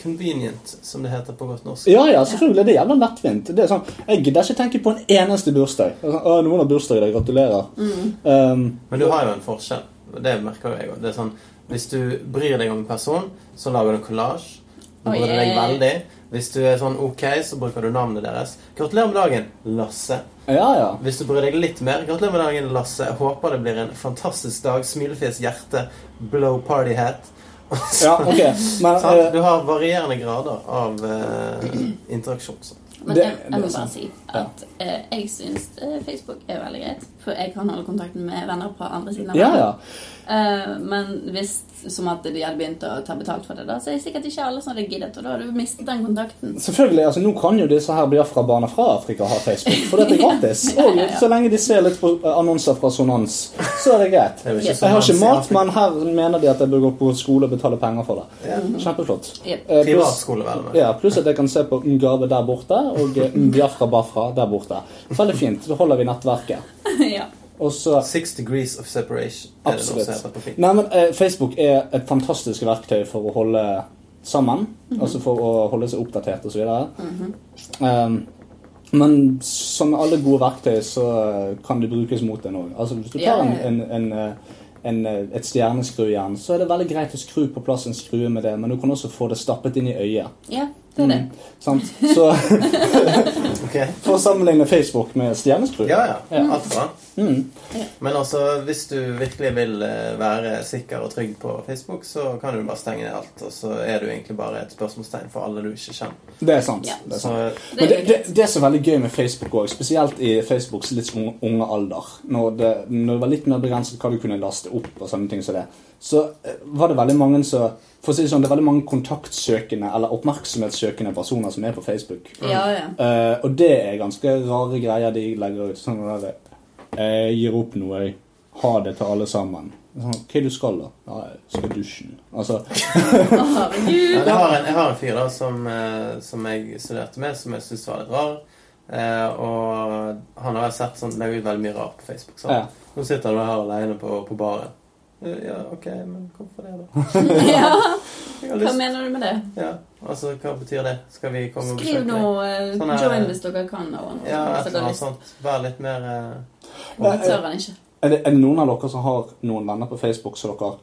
[SPEAKER 1] convenient, som det heter på godt norsk.
[SPEAKER 2] ja, ja, selvfølgelig. Det er jævla lettvint. Det er sånn, jeg gidder ikke tenke på en eneste bursdag. Det er Sånn, «Å, noen har bursdag i dag. Gratulerer. Eh,
[SPEAKER 1] Men du har jo en forskjell. og Det merker jo jeg òg. Sånn, hvis du bryr deg om en person, så lager du en collage. Du
[SPEAKER 3] Oi,
[SPEAKER 1] bryr deg
[SPEAKER 3] eh.
[SPEAKER 1] veldig. Hvis du er sånn OK, så bruker du navnet deres. Gratulerer med dagen, Lasse.
[SPEAKER 2] ja, ja.
[SPEAKER 1] Hvis du bryr deg litt mer, gratulerer med dagen, Lasse. Jeg håper det blir en fantastisk dag. Smilefjes, hjerte, blow party hat. (laughs)
[SPEAKER 2] ja ok. Men, eh,
[SPEAKER 1] Sant? Du har varierende grader av eh, interaksjon. Så.
[SPEAKER 3] Men
[SPEAKER 2] Det-
[SPEAKER 3] jeg,
[SPEAKER 2] det er
[SPEAKER 3] jeg må bare
[SPEAKER 2] sant.
[SPEAKER 3] si at eh, jeg syns eh, Facebook er veldig greit. For jeg kan holde kontakten med venner på andre siden av
[SPEAKER 2] ja,
[SPEAKER 3] verden.
[SPEAKER 2] ja.
[SPEAKER 3] Eh, men hvis som at de hadde begynt å ta betalt for det, da, så er det sikkert ikke alle som hadde giddet. Og da hadde du mistet den kontakten.
[SPEAKER 2] Selvfølgelig, altså Nå kan jo disse her Biafra-barna fra Afrika ha Facebook, for dette er gratis. Og så lenge de ser litt på eh, annonser fra Sonans, så er det greit.
[SPEAKER 1] Det er jo ikke
[SPEAKER 3] Ja.
[SPEAKER 1] sånn
[SPEAKER 2] Jeg har
[SPEAKER 1] man
[SPEAKER 2] ikke
[SPEAKER 1] ser
[SPEAKER 2] mat,
[SPEAKER 1] Afrika.
[SPEAKER 2] men her mener de at jeg bør gå på skole og betale penger for det.
[SPEAKER 1] Ja.
[SPEAKER 2] Kjempeflott.
[SPEAKER 3] Yep.
[SPEAKER 2] Eh, pluss-
[SPEAKER 1] Privatskole, vel. men.
[SPEAKER 2] ja, Pluss at jeg kan se på Ngave der borte og eh, Biafra Bafra der borte. Veldig fint. Da holder vi nettverket.
[SPEAKER 3] (laughs) ja.
[SPEAKER 2] Og så
[SPEAKER 1] Six degrees of separation. Er det noe
[SPEAKER 2] Absolutt.
[SPEAKER 1] som heter på fint.
[SPEAKER 2] Nei, men eh, Facebook er et fantastisk verktøy for å holde sammen. Altså for å holde seg oppdatert osv.
[SPEAKER 3] Mhm.
[SPEAKER 2] um, men som med alle gode verktøy så eh, kan det brukes mot en òg. Altså, hvis du
[SPEAKER 3] Ja,
[SPEAKER 2] tar en,
[SPEAKER 3] ja, ja.
[SPEAKER 2] en, en, eh, en, eh, et stjerneskrujern, så er det veldig greit å skru på plass en skrue med det, men du kan også få det stappet inn i øyet.
[SPEAKER 3] ja, det er det.
[SPEAKER 2] Mm, sant? Så (laughs)
[SPEAKER 1] Ok.
[SPEAKER 2] for å sammenligne Facebook med stjerneskrue
[SPEAKER 1] Ja, ja. Alt bra.
[SPEAKER 2] Mm.
[SPEAKER 1] Men altså, hvis du virkelig vil eh, være sikker og trygg på Facebook, så kan du bare stenge ned alt, og så er du egentlig bare et spørsmålstegn for alle du ikke kjenner.
[SPEAKER 2] Det er sant.
[SPEAKER 3] Ja.
[SPEAKER 2] Det er sant.
[SPEAKER 1] Så
[SPEAKER 2] Men det,
[SPEAKER 3] er
[SPEAKER 2] det, det som er veldig gøy med Facebook også, spesielt i Facebooks litt unge, unge alder, når det, når det var litt mer begrenset hva du kunne laste opp og sånne ting som det, så eh, var det veldig mange som For å si det sånn, det er veldig mange kontaktsøkende eller oppmerksomhetssøkende personer som er på Facebook.
[SPEAKER 3] Ja, ja.
[SPEAKER 2] Eh, og det er ganske rare greier de legger ut. Sånn der, jeg gir opp noe, jeg. Ha det til alle sammen. Sånn, Hva er det du skal da? Ja, jeg skal dusje. Altså,
[SPEAKER 3] Å, herregud.
[SPEAKER 1] Ja, jeg, har en, jeg har en fyr da som, eh, som jeg studerte med, som jeg syntes var litt rar. Eh, og han har jeg sett sånn, legger ut veldig mye rart på Facebook. Sant?
[SPEAKER 2] Ja.
[SPEAKER 1] Nå sitter du her alene på, på baren. Eh, Ja, OK, men hvorfor det, da?
[SPEAKER 3] ja.
[SPEAKER 1] Jeg har
[SPEAKER 3] Hva
[SPEAKER 1] lyst.
[SPEAKER 3] mener du med det?
[SPEAKER 1] Ja, altså, hva betyr det? Skal vi komme og
[SPEAKER 3] Skriv
[SPEAKER 1] besøke
[SPEAKER 3] nå
[SPEAKER 1] deg?
[SPEAKER 3] eh,
[SPEAKER 1] Sånn er-
[SPEAKER 3] 'join' hvis dere kan. Og,
[SPEAKER 1] Ja,
[SPEAKER 3] så
[SPEAKER 1] et eller
[SPEAKER 3] da
[SPEAKER 1] annet
[SPEAKER 3] lyst-
[SPEAKER 1] sånt. Vær litt mer eh,
[SPEAKER 3] det tør han ikke.
[SPEAKER 2] Er det, er det noen av dere som har noen venner på Facebook som dere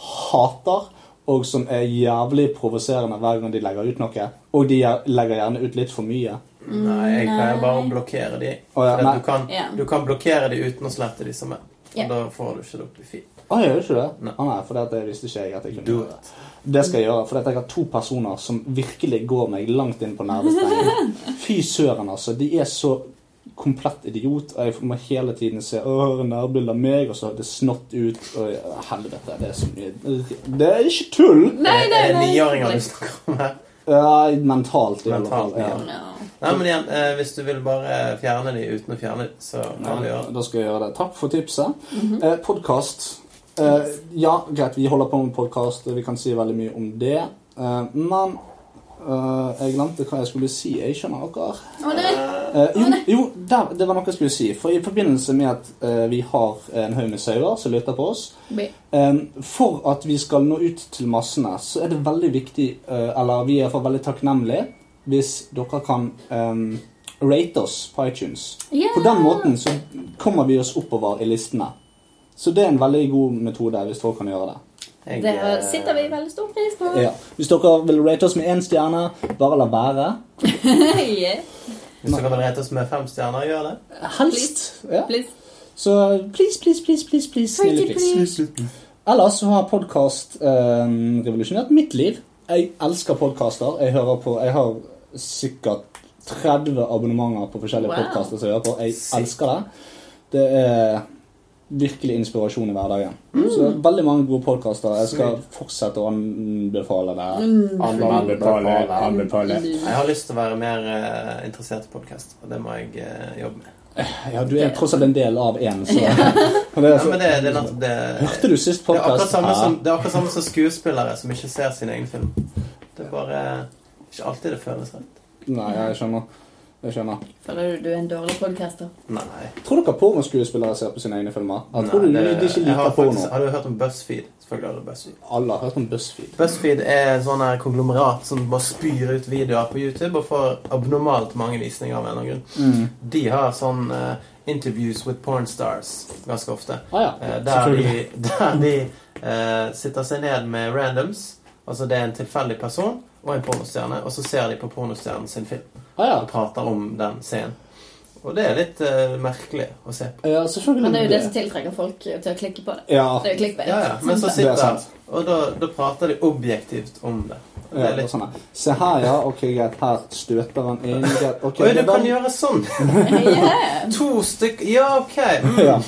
[SPEAKER 2] hater, og som er jævlig provoserende hver gang de legger ut noe? Og de gjer- legger gjerne ut litt for mye.
[SPEAKER 1] Nei, jeg pleier
[SPEAKER 3] Mm, Nei.
[SPEAKER 1] bare å blokkere de.
[SPEAKER 2] Å, ja,
[SPEAKER 1] For at
[SPEAKER 2] nei.
[SPEAKER 1] du, kan,
[SPEAKER 3] Ja.
[SPEAKER 1] du kan blokkere de uten å slette de som er. Og
[SPEAKER 3] Ja.
[SPEAKER 1] Da får du ikke det opp i feed.
[SPEAKER 2] Å, gjør du ikke det?
[SPEAKER 1] Nei.
[SPEAKER 2] Å, nei, for det visste ikke jeg at jeg kunne
[SPEAKER 1] Do
[SPEAKER 2] gjøre. Det skal jeg gjøre, for jeg har to personer som virkelig går meg langt inn på nervestrengen. Fy søren, altså. De er så komplett idiot, og jeg må hele tiden se «Åh, nærbilde av meg, og så har det snott ut, og ja, helvete, det er så mye Det er ikke tull!
[SPEAKER 3] Nei, nei,
[SPEAKER 1] Er det
[SPEAKER 3] nei.
[SPEAKER 1] Eh, niåringer du snakker om her?
[SPEAKER 2] Ja, mentalt, i alle fall.
[SPEAKER 1] Mentalt,
[SPEAKER 2] Ja.
[SPEAKER 1] ja.
[SPEAKER 3] Ja.
[SPEAKER 1] Nei, men igjen, eh, hvis du vil bare fjerne de uten å fjerne de, så kan du
[SPEAKER 2] Ja,
[SPEAKER 1] gjøre det.
[SPEAKER 2] da skal jeg gjøre det. Takk for tipset.
[SPEAKER 3] Mhm.
[SPEAKER 2] eh, Podkast. Eh, ja, greit, vi holder på med podkast, vi kan si veldig mye om det. Eh, men eh, jeg glemte hva jeg skulle si. Jeg skjønner dere.
[SPEAKER 3] Å, nei.
[SPEAKER 2] Eh, Eh, jo, jo der, det var noe jeg skulle si. For I forbindelse med at eh, vi har en haug med sauer som lytter på oss,
[SPEAKER 3] Bi.
[SPEAKER 2] Em, For at vi skal nå ut til massene, så er det veldig viktig, eh, eller vi er iallfall veldig takknemlige, hvis dere kan em, rate oss på iTunes.
[SPEAKER 3] Ja.
[SPEAKER 2] På den måten så kommer vi oss oppover i listene. Så det er en veldig god metode hvis folk kan gjøre det.
[SPEAKER 1] Jeg,
[SPEAKER 3] Det har-
[SPEAKER 1] eh,
[SPEAKER 3] sitter vi veldig stor pris på. (laughs)
[SPEAKER 2] Ja. Hvis dere vil rate oss med én stjerne, bare la være.
[SPEAKER 3] Yeah.
[SPEAKER 1] Hvis dere vil rete oss med fem stjerner, gjør det.
[SPEAKER 2] Helst. Ja.
[SPEAKER 3] Please.
[SPEAKER 2] Så please, please, please, please, please, snille
[SPEAKER 3] Pretty
[SPEAKER 2] please. Ellers så har podkast eh, revolusjonert mitt liv. Jeg elsker podkaster. Jeg hører på Jeg har sikkert 30 abonnementer på forskjellige
[SPEAKER 3] Wow.
[SPEAKER 2] podkaster som jeg hører på. Jeg
[SPEAKER 1] Sykt.
[SPEAKER 2] elsker det. Det er virkelig inspirasjon i hverdagen.
[SPEAKER 1] Mm.
[SPEAKER 2] Så veldig mange gode podkaster. Jeg skal fortsette å anbefale det.
[SPEAKER 3] Mm.
[SPEAKER 2] Anbefale, anbefale.
[SPEAKER 1] Jeg har lyst til å være mer eh, interessert i podkast, og det må jeg eh, jobbe med.
[SPEAKER 2] Ja, du er tross alt en del av én, så, (laughs) Og det er
[SPEAKER 1] Ja,
[SPEAKER 2] så
[SPEAKER 1] men det, det, er nettopp det,
[SPEAKER 2] Hørte du sist
[SPEAKER 1] det er akkurat
[SPEAKER 2] podkast?
[SPEAKER 1] samme som, det er akkurat samme som skuespillere som ikke ser sin egen film. Det er bare ikke alltid det føles rett.
[SPEAKER 2] Nei, jeg skjønner. Jeg skjønner.
[SPEAKER 3] Føler du du er en dårlig podcaster?
[SPEAKER 1] Nei.
[SPEAKER 2] Tror dere pornoskuespillere ser på sine egne filmer? Jeg tror
[SPEAKER 1] Nei,
[SPEAKER 2] du de ikke
[SPEAKER 1] jeg har
[SPEAKER 2] liker porno?
[SPEAKER 1] faktisk- Har du hørt om BuzzFeed? Selvfølgelig har du BuzzFeed.
[SPEAKER 2] Alle har hørt om BuzzFeed.
[SPEAKER 1] BuzzFeed er sånn her konglomerat som bare spyr ut videoer på YouTube og får abnormalt mange visninger av en eller annen grunn.
[SPEAKER 3] Mm.
[SPEAKER 1] De har sånn eh, interviews with pornstars ganske ofte.
[SPEAKER 2] Ah, ja.
[SPEAKER 1] Eh, der
[SPEAKER 2] Selvfølgelig.
[SPEAKER 1] de, der de eh, sitter seg ned med randoms. Altså det er en tilfeldig person og en pornostjerne, og så ser de på pornostjernen sin film
[SPEAKER 2] Ah, ja.
[SPEAKER 1] og prater om den scenen. Og det er litt eh, merkelig å se på.
[SPEAKER 2] ja, selvfølgelig.
[SPEAKER 3] Men det er jo det som tiltrekker folk til å klikke på det.
[SPEAKER 2] Ja,
[SPEAKER 3] Det er jo clickbait.
[SPEAKER 1] Mm. Ja, ja. Men
[SPEAKER 3] (laughs)
[SPEAKER 1] så
[SPEAKER 2] Det er
[SPEAKER 1] sitter
[SPEAKER 2] sant.
[SPEAKER 1] Og da, da prater de objektivt om det. Og
[SPEAKER 2] ja,
[SPEAKER 1] Det er
[SPEAKER 2] det er
[SPEAKER 1] litt
[SPEAKER 2] sånn her. Se her, ja. Ok, greit. Her støter han
[SPEAKER 1] (laughs)
[SPEAKER 2] inn. Greit. Ok,
[SPEAKER 1] Oi, du
[SPEAKER 2] det var-
[SPEAKER 1] kan gjøre sånn! (laughs)
[SPEAKER 3] Yeah.
[SPEAKER 1] To stykk Ja, OK. Mm.
[SPEAKER 2] (laughs) ja.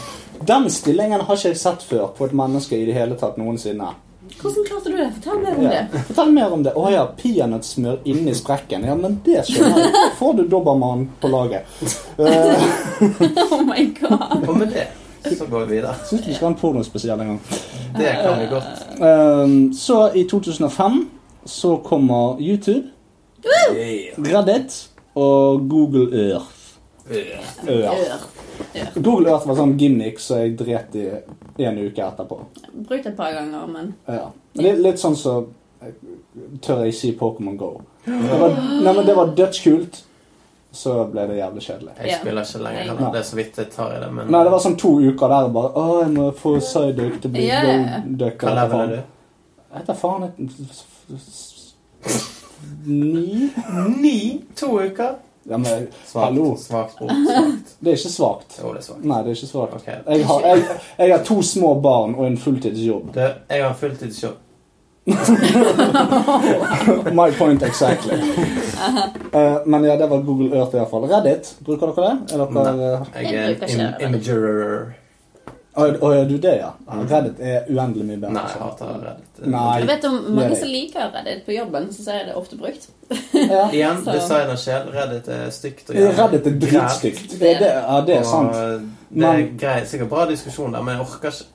[SPEAKER 2] Den stillingen har ikke jeg sett før på et menneske i det hele tatt noensinne.
[SPEAKER 3] Hvordan klarte du det? Fortell meg om
[SPEAKER 2] Ja.
[SPEAKER 3] det. (laughs)
[SPEAKER 2] Fortell mer om det. Å ja, peanøttsmør inni sprekken. Ja, men det skjønner jeg. Får du dobbermann på laget. Uh,
[SPEAKER 3] Oh my god.
[SPEAKER 1] Og med det så går vi videre.
[SPEAKER 2] Syns vi skal ha en pornospesial en gang.
[SPEAKER 1] Det kan vi godt.
[SPEAKER 2] Ehm, så i 2005 så kommer YouTube, Reddit og Google Earth. Earth.
[SPEAKER 3] Ør.
[SPEAKER 2] Google Earth var sånn gimmick som jeg dret i en uke etterpå.
[SPEAKER 3] Brukt et par ganger, men
[SPEAKER 2] Ja. Litt, litt sånn som eh, Tør jeg si Pokémon Go? Det var, nei, men det var dødskult. Så ble det jævlig kjedelig.
[SPEAKER 1] Jeg spiller ikke lenger. heller. Det er så vidt jeg tar i det, men
[SPEAKER 2] Nei, det var sånn to uker der bare Å, jeg må få sideduck til å bli
[SPEAKER 3] Ja, ja.
[SPEAKER 2] goldduck.
[SPEAKER 1] hva level er du?
[SPEAKER 2] Jeg vet da faen
[SPEAKER 1] (laughs)
[SPEAKER 2] jeg- Ni?
[SPEAKER 1] Ni? To uker?
[SPEAKER 2] Ja, men
[SPEAKER 1] Svakt.
[SPEAKER 2] hallo.
[SPEAKER 1] Svakt
[SPEAKER 2] (laughs)
[SPEAKER 1] bort. Svakt.
[SPEAKER 2] Det er ikke svakt.
[SPEAKER 1] Jo, det er svakt.
[SPEAKER 2] Nei, det er ikke svakt.
[SPEAKER 1] Ok.
[SPEAKER 2] Jeg, har, jeg, jeg har to små barn og en fulltidsjobb.
[SPEAKER 1] Du, jeg har en fulltidsjobb.
[SPEAKER 2] My point exactly. Eh, men ja, det var Google Earth i hvert fall. Reddit, bruker dere det? Er dere
[SPEAKER 1] Jeg er
[SPEAKER 3] Jeg bruker
[SPEAKER 1] en
[SPEAKER 3] ikke
[SPEAKER 1] im
[SPEAKER 3] det.
[SPEAKER 1] imagerer.
[SPEAKER 2] Å, å, gjør du det, ja? Reddit er uendelig mye bedre.
[SPEAKER 1] Mm. Nei, jeg hater Reddit.
[SPEAKER 2] Nei.
[SPEAKER 3] Jeg vet om
[SPEAKER 2] Nei.
[SPEAKER 3] mange som liker Reddit på jobben, så er det ofte brukt.
[SPEAKER 2] Ja.
[SPEAKER 1] Igjen,
[SPEAKER 3] Så-
[SPEAKER 1] designersjel. Reddit er stygt. og jævlig.
[SPEAKER 2] Reddit er dritstygt. Det, det, ja, det er sant.
[SPEAKER 1] Og eh, det er
[SPEAKER 2] Men-
[SPEAKER 1] grei, sikkert bra diskusjon der, men jeg orker ikke.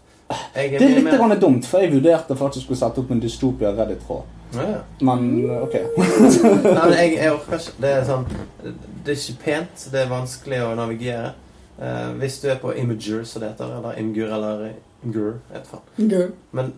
[SPEAKER 1] Jeg
[SPEAKER 2] Det er
[SPEAKER 1] mye
[SPEAKER 2] litt
[SPEAKER 1] mer-
[SPEAKER 2] grann dumt, for jeg vurderte faktisk å skulle sette opp en dystopia Reddit-tråd.
[SPEAKER 1] Ja, ja.
[SPEAKER 2] Men eh, ok.
[SPEAKER 1] Nei, men jeg, jeg orker ikke. Det er sånn Det er ikke pent. Det er vanskelig å navigere. Eh, hvis du er på Imager, som det heter, eller Imgur eller Imgur, jeg vet faen. Men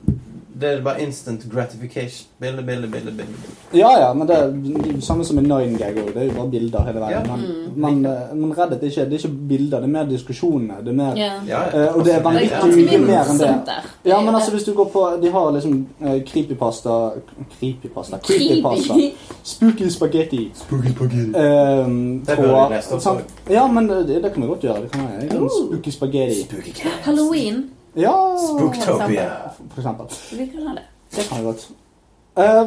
[SPEAKER 1] det er bare instant gratification. Bilde, bilde, bilde. bilde. bilde.
[SPEAKER 2] Ja ja, men det er det samme som en nine gag òg. Det er jo bare bilder hele veien.
[SPEAKER 1] Ja.
[SPEAKER 2] Men,
[SPEAKER 3] Mm.
[SPEAKER 2] men, eh, men Reddit er ikke, det er ikke bilder, det er mer diskusjoner. Det er mer
[SPEAKER 3] Ja.
[SPEAKER 1] Ja, ja.
[SPEAKER 2] Eh, og det er
[SPEAKER 3] Det er
[SPEAKER 2] vanvittig
[SPEAKER 3] ganske mye
[SPEAKER 2] mer enn det.
[SPEAKER 3] morsomt der.
[SPEAKER 2] Ja, men altså hvis du går på De har liksom eh, creepypasta Creepypasta? Creepypasta.
[SPEAKER 3] Creepy.
[SPEAKER 2] Spooky spagetti.
[SPEAKER 1] Spooky, spooky.
[SPEAKER 2] Ehm,
[SPEAKER 1] Det burde
[SPEAKER 2] tråder,
[SPEAKER 1] du lest opp,
[SPEAKER 2] sant? Ja, men eh, det, det kan vi godt gjøre. Det kan jeg. En
[SPEAKER 3] Uh.
[SPEAKER 2] Spooky spagetti.
[SPEAKER 3] (laughs) Halloween.
[SPEAKER 2] Ja,
[SPEAKER 1] Spooktopia.
[SPEAKER 2] for eksempel.
[SPEAKER 3] Vi kan
[SPEAKER 2] (laughs)
[SPEAKER 3] ha det.
[SPEAKER 2] Det kan vi godt. Eh,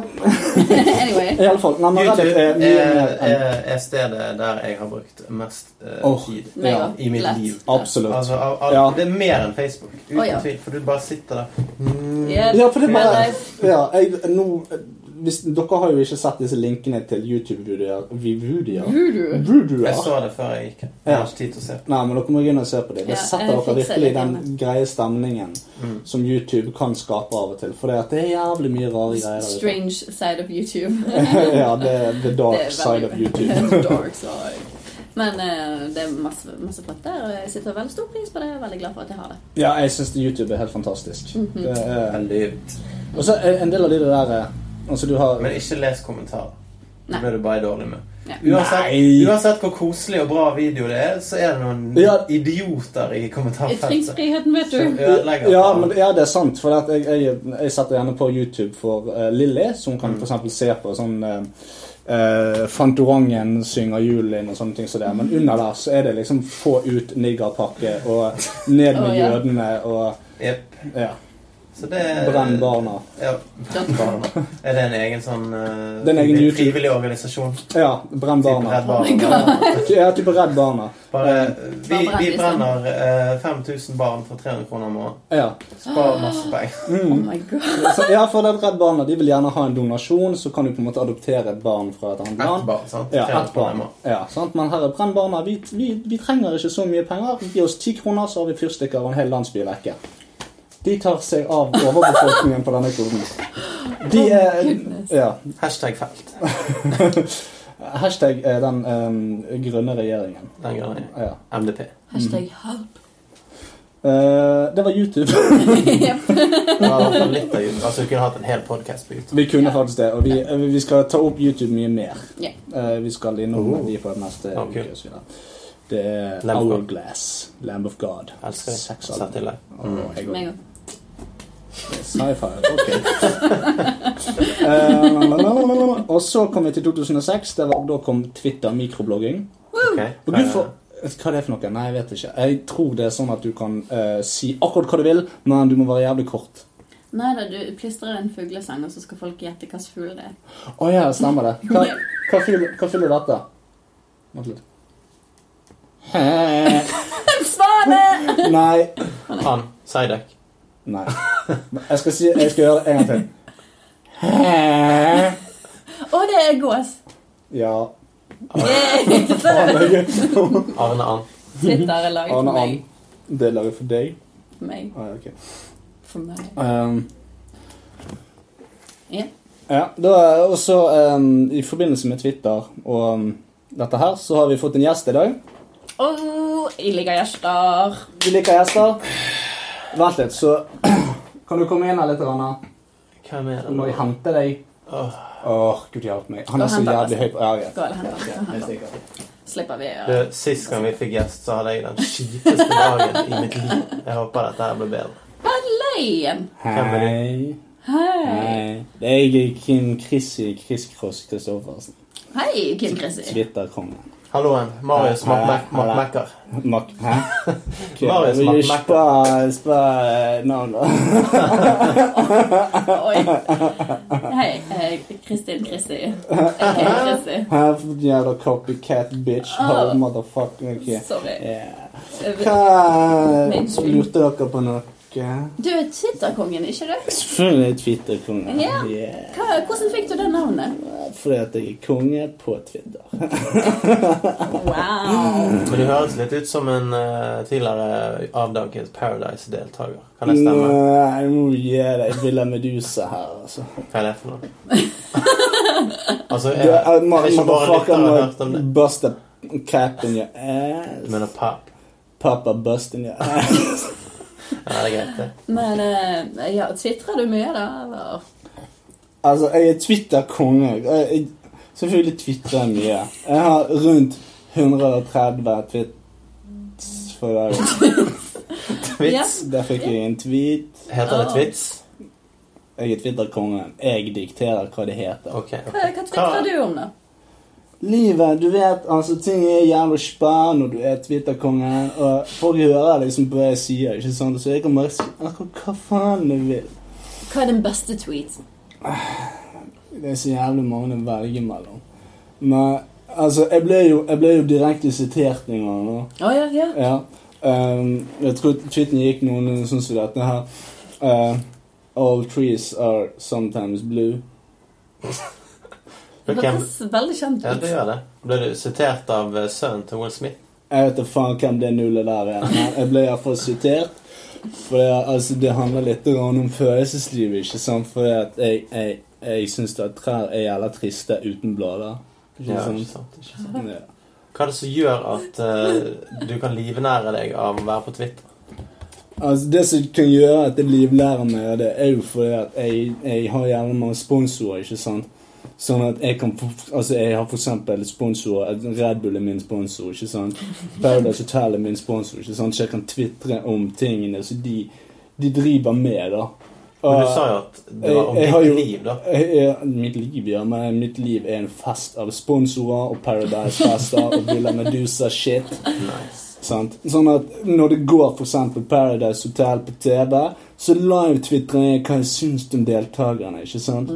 [SPEAKER 3] Anyway.
[SPEAKER 2] (laughs) I alle fall. Nei, men
[SPEAKER 1] YouTube eh,
[SPEAKER 2] Reddit
[SPEAKER 1] er,
[SPEAKER 2] er eh, mye mer enn
[SPEAKER 1] er, er stedet der jeg har brukt mest eh,
[SPEAKER 2] Åh.
[SPEAKER 1] tid.
[SPEAKER 3] Meg
[SPEAKER 2] Ja,
[SPEAKER 3] også.
[SPEAKER 1] i mitt
[SPEAKER 3] Lett.
[SPEAKER 1] liv.
[SPEAKER 2] Absolutt.
[SPEAKER 1] Altså, av, av,
[SPEAKER 2] Ja.
[SPEAKER 1] Det er mer enn Facebook, uten
[SPEAKER 3] Å, ja.
[SPEAKER 1] tvil. For du bare sitter der. Mm.
[SPEAKER 3] Yeah.
[SPEAKER 2] Ja, for det er bare
[SPEAKER 3] Real life.
[SPEAKER 2] ja, jeg, nå, hvis, Dere har jo ikke sett disse linkene til YouTube-videoer. vi- videoer.
[SPEAKER 3] Voodoo.
[SPEAKER 2] Videoer.
[SPEAKER 1] Jeg så det før jeg gikk. Jeg
[SPEAKER 2] Ja.
[SPEAKER 1] har ikke tid til å se på.
[SPEAKER 2] Nei, men dere må gå inn og se på dem. Det
[SPEAKER 3] Ja,
[SPEAKER 2] setter
[SPEAKER 3] jeg
[SPEAKER 2] dere
[SPEAKER 3] fikser
[SPEAKER 2] virkelig i
[SPEAKER 3] det
[SPEAKER 2] den
[SPEAKER 3] hjemme.
[SPEAKER 2] greie stemningen
[SPEAKER 1] Mm.
[SPEAKER 2] som YouTube kan skape av og til. For det, at det er jævlig mye rare greier. der ute.
[SPEAKER 3] Strange side of YouTube.
[SPEAKER 2] (laughs) ja, det er the dark
[SPEAKER 3] (laughs) Det er
[SPEAKER 2] side of
[SPEAKER 3] (laughs) veldig-
[SPEAKER 2] YouTube.
[SPEAKER 3] dark side. Men eh, det er masse, masse flott der, og jeg sitter veldig stor pris på det. Jeg er veldig glad for at jeg har det.
[SPEAKER 2] Ja, jeg syns YouTube er helt fantastisk.
[SPEAKER 3] Mhm.
[SPEAKER 2] Det er...
[SPEAKER 1] Veldig
[SPEAKER 2] Og så er en del av de der eh, Altså, du har
[SPEAKER 1] Men ikke les kommentarer. Det
[SPEAKER 3] Nei.
[SPEAKER 1] blir du bare dårlig med.
[SPEAKER 3] Ja.
[SPEAKER 1] Uansett,
[SPEAKER 2] Nei.
[SPEAKER 1] uansett hvor koselig og bra video det er, så er det noen
[SPEAKER 2] Ja.
[SPEAKER 1] idioter i kommentarfeltet.
[SPEAKER 3] Ytringsfriheten, vet
[SPEAKER 1] Som
[SPEAKER 3] du.
[SPEAKER 1] ødelegger
[SPEAKER 2] Ja,
[SPEAKER 1] for
[SPEAKER 2] men, ja, det er sant. For at jeg, jeg, jeg setter gjerne på YouTube for eh, Lilly, som kan
[SPEAKER 1] Mm.
[SPEAKER 2] for eksempel se på sånn eh, eh, Fantorangen synger julen og sånne ting. Så det. Men under der så er det liksom få ut niggerpakke og ned med
[SPEAKER 3] Å, ja.
[SPEAKER 2] jødene og
[SPEAKER 1] Jepp.
[SPEAKER 2] ja,
[SPEAKER 1] Så det
[SPEAKER 2] brenn barna.
[SPEAKER 1] Ja. (laughs) Er det en egen sånn eh,
[SPEAKER 2] Det er en egen YouTube.
[SPEAKER 1] frivillig organisasjon?
[SPEAKER 2] Ja, brenn
[SPEAKER 1] Typ
[SPEAKER 2] barna.
[SPEAKER 1] Redd (laughs)
[SPEAKER 3] Oh my
[SPEAKER 1] Barna.
[SPEAKER 2] Ja, type Redd Barna.
[SPEAKER 1] Bare, vi,
[SPEAKER 3] Bare
[SPEAKER 1] vi
[SPEAKER 3] brenn, liksom.
[SPEAKER 1] brenner eh, 5000 barn for 300 kroner om året.
[SPEAKER 2] Ja.
[SPEAKER 1] Spar masse penger.
[SPEAKER 3] Oh
[SPEAKER 2] Mm.
[SPEAKER 3] my god.
[SPEAKER 2] Så, ja, for det er Redd Barna de vil gjerne ha en donasjon, så kan du på en måte adoptere et barn fra et annet
[SPEAKER 1] Ett
[SPEAKER 2] land.
[SPEAKER 1] barn, sant?
[SPEAKER 2] Ja,
[SPEAKER 1] 300
[SPEAKER 2] ett
[SPEAKER 1] kroner
[SPEAKER 2] barn.
[SPEAKER 1] om året.
[SPEAKER 2] Ja, sant? Men her er brennbarna. Vi, vi, vi trenger ikke så mye penger. Gi oss ti kroner, så har vi fyrstikker og en hel landsby vekke. De tar seg av overbefolkningen på denne kloden. De er
[SPEAKER 3] Goodness.
[SPEAKER 2] ja, (laughs)
[SPEAKER 1] Hashtag felt.
[SPEAKER 2] Hashtag er den em, grønne regjeringen.
[SPEAKER 1] Den greia.
[SPEAKER 2] Ja.
[SPEAKER 1] MDP.
[SPEAKER 3] Hashtag help. (laughs)
[SPEAKER 2] Eh, det var YouTube. (laughs)
[SPEAKER 1] Det var i hvert fall litt av YouTube. Altså, vi kunne hatt en hel podcast på YouTube.
[SPEAKER 2] Vi kunne faktisk det. Og vi, vi skal ta opp YouTube mye mer.
[SPEAKER 3] Ja.
[SPEAKER 2] Eh, vi skal innom
[SPEAKER 1] Oh.
[SPEAKER 2] de på neste
[SPEAKER 1] Ja, kult.
[SPEAKER 2] uke. og så videre. Det er
[SPEAKER 1] Lamb of God.
[SPEAKER 2] Hourglass. Lamb of God.
[SPEAKER 1] Elsker det.
[SPEAKER 2] Seks
[SPEAKER 1] Sett
[SPEAKER 2] album.
[SPEAKER 1] til det.
[SPEAKER 2] Åh, jeg går-
[SPEAKER 3] Meg òg.
[SPEAKER 2] Mm. Sci-fi, ok. (laughs) Eh, la, la, la, la, la, la. og så kom vi til 2006. Det var, da kom Twitter mikroblogging.
[SPEAKER 1] Ok.
[SPEAKER 2] Og du får, hva er det for noe? Nei, jeg vet ikke. Jeg tror det er sånn at du kan eh, si akkurat hva du vil, men du må være jævlig kort.
[SPEAKER 3] Nei da, du plystrer en fuglesang, og så skal folk gjette hvilken fugl det er.
[SPEAKER 2] Å ja, stemmer det. Hva, hva, fyller, hva fyller dette? Vent litt. Hæ?
[SPEAKER 3] En svane!
[SPEAKER 2] Nei.
[SPEAKER 1] Han. Seidek.
[SPEAKER 2] Nei. Men Jeg skal, si, jeg skal gjøre det en gang til. Hæ?
[SPEAKER 3] Og det er gås.
[SPEAKER 2] Ja.
[SPEAKER 3] (laughs) Yay!
[SPEAKER 1] Arne Ann.
[SPEAKER 3] Twitter er
[SPEAKER 2] Arne
[SPEAKER 3] laget for
[SPEAKER 2] Ann.
[SPEAKER 3] meg.
[SPEAKER 2] Det lager for deg.
[SPEAKER 3] For meg.
[SPEAKER 2] Ah, ja, ok.
[SPEAKER 3] For meg.
[SPEAKER 2] Um,
[SPEAKER 3] Ja.
[SPEAKER 2] Ja, da, og så em, ehm, I forbindelse med Twitter og em, dette her, så har vi fått en gjest i dag.
[SPEAKER 3] Åh, jeg liker gjester.
[SPEAKER 2] Vi liker gjester. Vent litt, så (clears throat) Kan du komme inn her litt, Anna?
[SPEAKER 1] Hvem er
[SPEAKER 2] Så må jeg
[SPEAKER 1] det?
[SPEAKER 2] hente deg.
[SPEAKER 1] Åh,
[SPEAKER 2] Åh, gud hjelpe meg. Han
[SPEAKER 3] Da
[SPEAKER 2] er så
[SPEAKER 3] henter jeg
[SPEAKER 2] jævlig høy på ja,
[SPEAKER 3] Gå og hent
[SPEAKER 2] ja,
[SPEAKER 3] den.
[SPEAKER 2] jeg stikker.
[SPEAKER 3] Slipper vi å
[SPEAKER 1] Du,
[SPEAKER 3] gjøre
[SPEAKER 1] sist gang vi fikk gjest, så hadde jeg den kjipeste dagen i mitt liv. Jeg håper dette her blir bedre.
[SPEAKER 3] Leien.
[SPEAKER 1] Hvem er
[SPEAKER 2] Hei.
[SPEAKER 3] Hei.
[SPEAKER 2] Hei. Det er jeg, Kim Chrissy Chris Cross Christoffersen.
[SPEAKER 3] Hei, Kim Chrissy.
[SPEAKER 2] Twitter-kongen.
[SPEAKER 1] Halloen. Marius
[SPEAKER 2] Hei, hei,
[SPEAKER 1] Mackmacker.
[SPEAKER 2] Mac... Hæ?
[SPEAKER 1] Marius
[SPEAKER 2] Vil du
[SPEAKER 1] Mac-
[SPEAKER 2] spa- spa eh, navnet?
[SPEAKER 3] Oi. Hei, eh, Kristin Chrissy. Hei, Chrissy.
[SPEAKER 2] Her for jævla copycat bitch
[SPEAKER 3] Ah.
[SPEAKER 2] oh. motherfucking okay.
[SPEAKER 3] Sorry.
[SPEAKER 2] yeah.
[SPEAKER 3] Eh,
[SPEAKER 2] Hva
[SPEAKER 3] Mainstream.
[SPEAKER 2] lurte dere på noe?
[SPEAKER 3] Du er Twitter-kongen, ikke du?
[SPEAKER 2] Selvfølgelig Twitter-konge.
[SPEAKER 3] Ja.
[SPEAKER 2] Yeah.
[SPEAKER 3] Hva, hvordan fikk du det navnet?
[SPEAKER 2] Fordi at jeg er konge på Twitter.
[SPEAKER 3] Wow.
[SPEAKER 1] Men du høres litt ut som en eh, tidligere avdanket Paradise-deltaker. Kan det stemme?
[SPEAKER 2] Nei, nå gir jeg deg Villa Medusa her, altså.
[SPEAKER 1] Hva er det
[SPEAKER 2] (laughs)
[SPEAKER 1] for noe? Altså,
[SPEAKER 2] Du
[SPEAKER 1] jeg,
[SPEAKER 2] er en
[SPEAKER 1] jeg er ikke bare
[SPEAKER 2] motherfucker
[SPEAKER 1] lytter og har hørt om det.
[SPEAKER 2] med bust a cap in your
[SPEAKER 1] Du
[SPEAKER 2] ass.
[SPEAKER 1] mener pap?
[SPEAKER 2] Papa bust in your ass.
[SPEAKER 1] Ja, det er greit, det.
[SPEAKER 3] Men eh, ja, twitrer du mye, da? Eller?
[SPEAKER 2] Altså, jeg er Twitter-konge. Jeg- jeg- Selvfølgelig twitrer jeg mye. Jeg har rundt 130 tweets for dagen.
[SPEAKER 1] Vits?
[SPEAKER 2] Der fikk jeg en tweet.
[SPEAKER 1] Heter det Twits?
[SPEAKER 2] Jeg er Twitter-kongen. Jeg dikterer hva det heter.
[SPEAKER 1] Ok.
[SPEAKER 3] Hva, hva twitrer du om, da?
[SPEAKER 2] Livet, du vet, altså ting er jævlig spa når du er Twitter-kongen. Og folk hører liksom på hva jeg sier, ikke sant? Så jeg kan bare si akkurat hva faen jeg vil.
[SPEAKER 3] Hva er din beste tweet?
[SPEAKER 2] Det er så jævlig mange å velge mellom. Men altså, jeg ble jo, jeg ble jo direkte sitert en gang nå.
[SPEAKER 3] Å ja, ja.
[SPEAKER 2] Ja. Ehm, jeg tror tweeten gikk noen sånn som dette her. Eh, all trees are sometimes blue.
[SPEAKER 3] Det
[SPEAKER 1] Men hvem-
[SPEAKER 3] hørtes veldig kjent
[SPEAKER 1] Ja,
[SPEAKER 3] ut.
[SPEAKER 1] du gjør det. Ble du sitert av eh, sønnen til Will Smith?
[SPEAKER 2] Jeg vet da faen hvem det nullet der er. men Jeg ble iallfall sitert. For det, altså, det handler litt grann om følelseslivet, ikke sant? For at jeg, jeg, jeg syns at trær er jævla triste uten blader. Ikke
[SPEAKER 1] Ja,
[SPEAKER 2] sant?
[SPEAKER 1] ikke sant. Ikke sant.
[SPEAKER 2] Ja.
[SPEAKER 1] Hva er det som gjør at eh, du kan livnære deg av å være på Twitter?
[SPEAKER 2] Altså, det som kan gjøre at jeg livlærer meg av det, er jo fordi at jeg, jeg har gjerne mange sponsorer, ikke sant? Sånn at jeg kan få- Altså, jeg har for eksempel sponsorer at Red Bull er min sponsor, ikke sant? Paradise Hotel er min sponsor, ikke sant? Så jeg kan tvitre om tingene som de, de driver med, da.
[SPEAKER 1] Men du
[SPEAKER 2] Og-
[SPEAKER 1] sa jo at det var om
[SPEAKER 2] Ah, jeg- jeg har
[SPEAKER 1] ditt
[SPEAKER 2] jo-
[SPEAKER 1] liv, da.
[SPEAKER 2] jeg er, mitt liv, ja, men mitt liv er en fest av sponsorer og Paradise-fester og Villa Medusa-shit.
[SPEAKER 1] Nice.
[SPEAKER 2] Sant? Sånn at når det går for eksempel Paradise Hotel på TV, så live-tvitrer jeg hva jeg syns om deltakerne. ikke sant?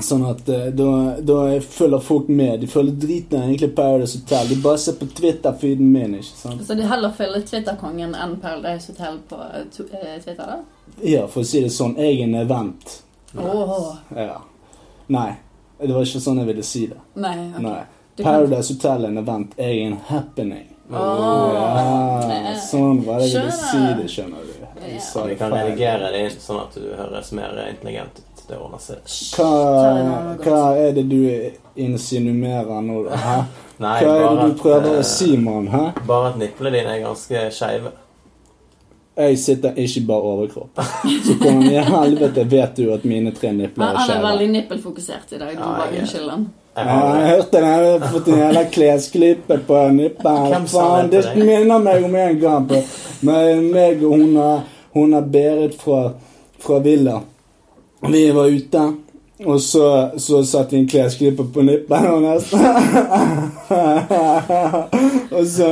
[SPEAKER 2] Sånn at eh, da, da følger folk med. De følger driten av egentlig Paradise Hotel. De bare ser på Twitter-feeden min. ikke sant?
[SPEAKER 3] Mm. Så du heller følger Twitter-kongen enn Paradise Hotel på eh, tu- eh, Twitter, da?
[SPEAKER 2] Ja, for å si det sånn. Jeg er en event.
[SPEAKER 3] Åh,
[SPEAKER 2] Ja. Nei, det var ikke sånn jeg ville si det.
[SPEAKER 3] Nei. ok.
[SPEAKER 2] Nei.
[SPEAKER 3] Du kan-
[SPEAKER 2] Paradise Hotel er en event. Jeg er en happening.
[SPEAKER 3] Åh.
[SPEAKER 2] Ja, sånn var det jeg ville si
[SPEAKER 3] Skjønner.
[SPEAKER 2] det, skjønner du. Jeg
[SPEAKER 3] Ja.
[SPEAKER 2] sa
[SPEAKER 1] Vi
[SPEAKER 2] det
[SPEAKER 1] kan
[SPEAKER 2] feil.
[SPEAKER 1] redigere det inn sånn at du høres mer intelligent ut. Det ordner seg.
[SPEAKER 2] Hva, hva er det du insinuerer nå, da? Hæ?
[SPEAKER 1] Nei,
[SPEAKER 2] Hva er det
[SPEAKER 1] bare
[SPEAKER 2] du prøver
[SPEAKER 1] eh,
[SPEAKER 2] å si, mann? Hæ?
[SPEAKER 1] Bare at nipplene dine er ganske skeive.
[SPEAKER 2] Jeg sitter ikke bare overkropp. Så kommer vi i helvete, vet du at mine tre
[SPEAKER 3] Han
[SPEAKER 2] nipler er
[SPEAKER 3] han er veldig
[SPEAKER 2] skjeve.
[SPEAKER 3] nippelfokusert i dag. Du
[SPEAKER 1] Ja,
[SPEAKER 3] bare
[SPEAKER 1] jeg er-
[SPEAKER 3] unnskyld han.
[SPEAKER 1] Jeg
[SPEAKER 2] Ja,
[SPEAKER 1] har
[SPEAKER 2] jeg hørte den jeg har fått en jævla klesklippe på nippelen.
[SPEAKER 1] Hvem sa
[SPEAKER 2] Faen,
[SPEAKER 1] det
[SPEAKER 2] det
[SPEAKER 1] til deg?
[SPEAKER 2] minner meg om en gang på med meg og hun er, hun er Berit fra, fra Villa. Vi var ute, og så, så satte vi en klesklippe på nippelen hennes. (laughs) og så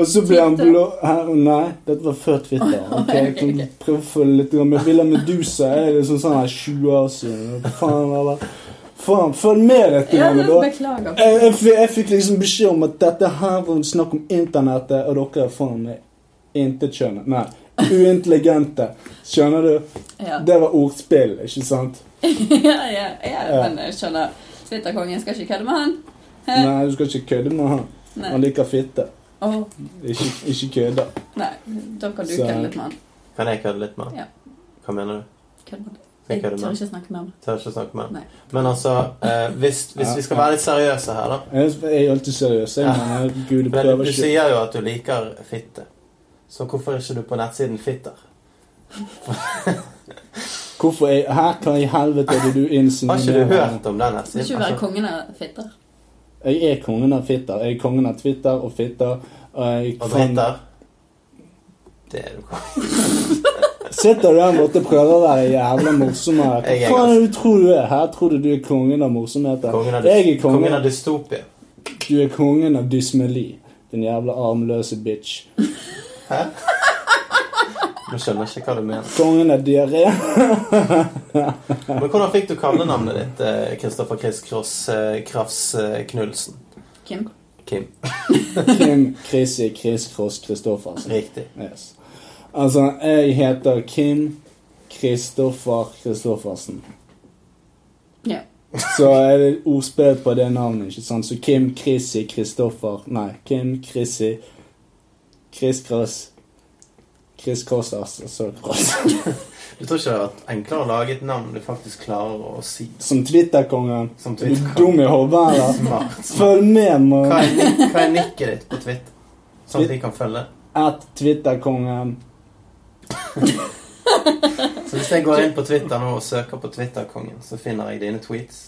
[SPEAKER 2] Og så ble han blå Hæ? Nei, dette var før
[SPEAKER 1] (laughs)
[SPEAKER 2] Twitter. Ok, jeg kan prøve å følge litt grann med Villa Medusa. Er det sånn sånn her 20 år siden? Hva Faen, eller? Faen, følg med dette
[SPEAKER 3] Ja,
[SPEAKER 2] grann, da.
[SPEAKER 3] beklager.
[SPEAKER 2] Jeg, jeg, fikk- jeg fikk liksom beskjed om at dette her var snakk om internettet, og dere er faen meg intetkjønne. Nei, uintelligente. Skjønner du?
[SPEAKER 3] Ja,
[SPEAKER 2] Det var ordspill, ikke
[SPEAKER 3] (laughs)
[SPEAKER 2] sant?
[SPEAKER 3] ja, ja, ja,
[SPEAKER 2] Ja.
[SPEAKER 3] men jeg skjønner. Twitterkongen skal ikke kødde med han. Hæ?
[SPEAKER 2] Nei, du skal ikke kødde med han. Han
[SPEAKER 3] Nei.
[SPEAKER 2] liker fitte.
[SPEAKER 3] Åh,
[SPEAKER 2] Ikke, ikke kødde.
[SPEAKER 3] nei, da kan du
[SPEAKER 2] Så-
[SPEAKER 3] kødde litt med han.
[SPEAKER 1] Kan jeg kødde litt med han?
[SPEAKER 3] Ja.
[SPEAKER 1] Hva mener du?
[SPEAKER 3] Kødde med han.
[SPEAKER 1] Skal
[SPEAKER 3] Jeg
[SPEAKER 1] jeg kødde
[SPEAKER 3] tør
[SPEAKER 1] med han?
[SPEAKER 3] ikke snakke med han.
[SPEAKER 1] Tør ikke snakke med han.
[SPEAKER 3] Nei.
[SPEAKER 1] Men altså, eh, hvis, hvis
[SPEAKER 2] Ja,
[SPEAKER 1] vi skal
[SPEAKER 2] ja.
[SPEAKER 1] være litt seriøse her, da
[SPEAKER 2] Jeg jeg er alltid seriøs. Jeg, mener, Gud,
[SPEAKER 1] (laughs)
[SPEAKER 2] jeg
[SPEAKER 1] Men
[SPEAKER 2] prøver
[SPEAKER 1] du
[SPEAKER 2] ikke.
[SPEAKER 1] sier jo at du liker fitte. Så hvorfor er ikke du på nettsiden Fitter?
[SPEAKER 2] Hvorfor er Hæ, hva i helvete er det du
[SPEAKER 1] Har
[SPEAKER 2] insinuerer?
[SPEAKER 1] ikke du hørt om den
[SPEAKER 3] Skal
[SPEAKER 1] nettsiden? Altså,
[SPEAKER 3] ikke være kongen av fitter.
[SPEAKER 2] Jeg er kongen av fitter. Jeg er kongen av Twitter og fitter. Og jeg
[SPEAKER 1] og Dritter? Det er du konge
[SPEAKER 2] Sitter du der borte og prøver å være jævla morsom? her?
[SPEAKER 1] Jeg
[SPEAKER 2] Hva
[SPEAKER 1] er
[SPEAKER 2] faen er det du tror du er? Her tror du du er kongen av morsomheter.
[SPEAKER 1] kongen av.
[SPEAKER 2] Jeg er
[SPEAKER 1] dys- Kongen
[SPEAKER 2] kongen.
[SPEAKER 1] av dystopia.
[SPEAKER 2] Du er kongen av dysmeli. Din jævla armløse bitch.
[SPEAKER 1] Nå skjønner jeg ikke hva du mener.
[SPEAKER 2] Kongen av diaré. (laughs)
[SPEAKER 1] Men hvordan fikk du kallenavnet ditt, Kristoffer Chris Cross eh, Krafs eh, Knulsen?
[SPEAKER 3] Kim.
[SPEAKER 1] Kim.
[SPEAKER 2] Kim Chrissy Chris Cross Christoffersen.
[SPEAKER 1] Riktig.
[SPEAKER 2] Yes. Altså, jeg heter Kim Kristoffer Kristoffersen.
[SPEAKER 3] Ja.
[SPEAKER 2] Så er det ordspill på det navnet, ikke sant? Så Kim Chrissy Kristoffer Nei, Kim Chrissy Chris Cross Chris Cross, altså. Så Cross. (laughs)
[SPEAKER 1] Du tror ikke det har vært enklere å lage et navn du faktisk klarer å si?
[SPEAKER 2] Som Twitter-kongen.
[SPEAKER 1] Som
[SPEAKER 2] Er Du
[SPEAKER 1] Twitter.
[SPEAKER 2] dum i hodet, eller?
[SPEAKER 1] Smart. smart.
[SPEAKER 2] Følg med,
[SPEAKER 1] Hva
[SPEAKER 2] mann.
[SPEAKER 1] er, nik- hva er nikket ditt på Twitter? Sånn at vi kan følge.
[SPEAKER 2] At Twitter-kongen.
[SPEAKER 1] Så hvis jeg går inn på Twitter nå og søker på Twitterkongen, så finner jeg dine tweets.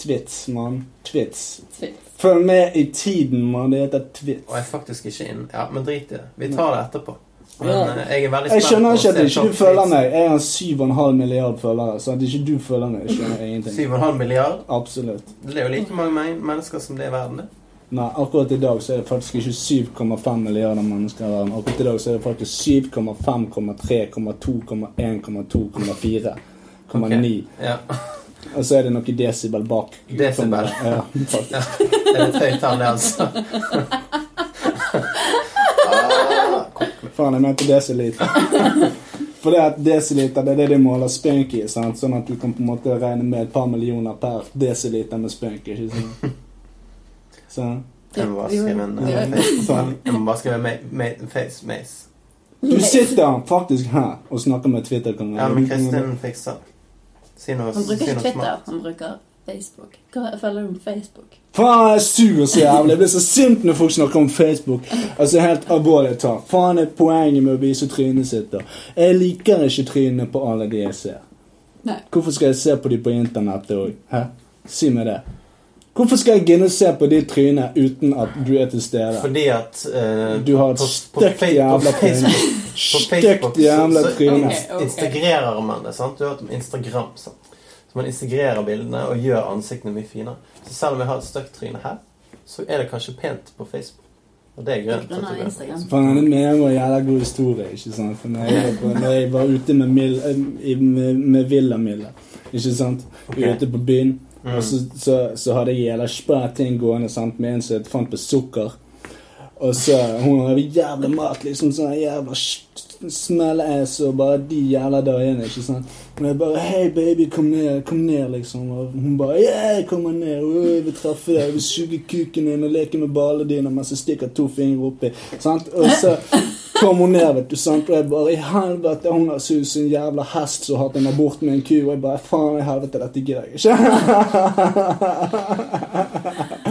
[SPEAKER 2] Twits, mann. Twits.
[SPEAKER 3] Twitt.
[SPEAKER 2] Følg med i tiden, mann. Det heter Twits.
[SPEAKER 1] Og jeg er faktisk ikke inn. Ja, men drit i det. Vi tar det etterpå. Men
[SPEAKER 2] Ja.
[SPEAKER 1] eh, jeg er veldig
[SPEAKER 2] Jeg
[SPEAKER 1] spent
[SPEAKER 2] skjønner
[SPEAKER 1] på å
[SPEAKER 2] ikke at
[SPEAKER 1] se
[SPEAKER 2] ikke
[SPEAKER 1] topp
[SPEAKER 2] du følger
[SPEAKER 1] tweets.
[SPEAKER 2] meg. Jeg har 7,5 milliard følgere, så at ikke du følger meg, jeg
[SPEAKER 1] (laughs)
[SPEAKER 2] skjønner ingenting.
[SPEAKER 1] 7,5 milliard.
[SPEAKER 2] Absolutt.
[SPEAKER 1] Det er jo like mange men- mennesker som det er i verden. det.
[SPEAKER 2] Nei, akkurat i dag så er det faktisk ikke 7,5 milliarder mennesker i verden. Akkurat i dag så er det faktisk 7,5,3,2,1,2,4,9.
[SPEAKER 1] Ja.
[SPEAKER 2] Og så er det noe desibel bak.
[SPEAKER 1] Desibel.
[SPEAKER 2] Ja, faktisk.
[SPEAKER 1] Det er et høyt tall, det, altså. (laughs) Ah,
[SPEAKER 2] Faen, jeg mente desiliter. For det at desiliter det er det de måler spunk i, sant? sånn at du kan på en måte regne med et par millioner per desiliter med spunk. ikke sant? Så.
[SPEAKER 1] Jeg må bare skrive en
[SPEAKER 2] Ja.
[SPEAKER 1] eh, face. Jeg må bare skrive ma- ma- face mace.
[SPEAKER 2] Du sitter faktisk her og snakker med Twitter-kongen.
[SPEAKER 1] Ja, men Kristin fikser. Si noe,
[SPEAKER 3] Han
[SPEAKER 1] si
[SPEAKER 3] bruker ikke
[SPEAKER 1] noe
[SPEAKER 3] Twitter,
[SPEAKER 1] smart.
[SPEAKER 3] han bruker Facebook. Hva følger du med Facebook?
[SPEAKER 2] Faen, jeg er sur så jævlig. Jeg blir så sint når folk snakker om Facebook. Altså, helt alvorlig talt. Faen er poenget med å vise trynet sitt, da. Jeg liker ikke trynene på alle de jeg ser.
[SPEAKER 3] Nei.
[SPEAKER 2] Hvorfor skal jeg se på de på internettet òg? Hæ? Si meg det. Hvorfor skal jeg gidde å se på de trynene uten at du er til stede?
[SPEAKER 1] Fordi at eh,
[SPEAKER 2] Du har et
[SPEAKER 1] på- på
[SPEAKER 2] stygt
[SPEAKER 1] Fe- på
[SPEAKER 2] jævla tryne.
[SPEAKER 1] Facebook- på Facebook
[SPEAKER 2] Stygt
[SPEAKER 1] så-
[SPEAKER 2] jævla
[SPEAKER 1] så
[SPEAKER 2] tryne.
[SPEAKER 3] Ok, ok.
[SPEAKER 1] Integrerer man det, sant? Du har hørt om Instagram, sant? Så man integrerer bildene og gjør ansiktene mye finere. Så selv om jeg har et stygt tryne her, så er det kanskje pent på Facebook. Og det er grønt.
[SPEAKER 3] Grunn av Instagram.
[SPEAKER 2] Faen, det mener jeg var en jævla god historie, ikke sant? For når jeg var, når jeg var ute med, Mil, eh, i- med, med Villa Milla, ikke sant? Vi var Ute på byen.
[SPEAKER 1] Mm.
[SPEAKER 2] Og så, så, så hadde jeg jævla spæ ting gående sant? med en som jeg fant på sukker. Og så hun hadde jævla mat, liksom sånn jævla smellass og bare de jævla dagene, ikke sant. Og jeg bare 'Hei, baby, kom ned, kom ned', liksom. Og hun bare 'Yeah, jeg kommer ned. Oi, jeg vil treffe deg. Jeg vil suge kuken din og leke med ballene dine mens jeg stikker to fingre oppi'. Sant? Og så kom hun ned, vet du, sant? og jeg bare 'I helvete, hun har sugd sin jævla hest som har hatt en abort med en ku', og jeg bare 'Faen i helvete, dette gidder jeg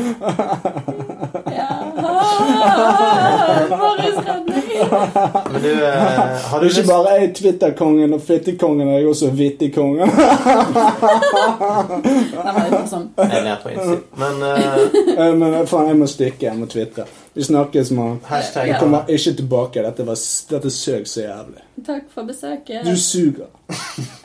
[SPEAKER 2] ikke'.
[SPEAKER 3] (laughs) Ja. Ah, Boris Rønning!
[SPEAKER 1] Men du,
[SPEAKER 2] (laughs)
[SPEAKER 1] eh, har du
[SPEAKER 2] Det er ikke
[SPEAKER 1] lyst
[SPEAKER 2] bare jeg Twitter-kongen og fittekongen, jeg er også vittig-kongen.
[SPEAKER 3] Den var litt sånn.
[SPEAKER 1] Jeg ler på Insta. Men eh,
[SPEAKER 2] Eh, (laughs) Men faen, jeg må stikke. Jeg må twitre. Vi snakkes, mann.
[SPEAKER 1] hashtag
[SPEAKER 2] Jeg kommer ikke tilbake. Dette, var, s- dette søk så jævlig.
[SPEAKER 3] Takk for besøket.
[SPEAKER 2] Du suger.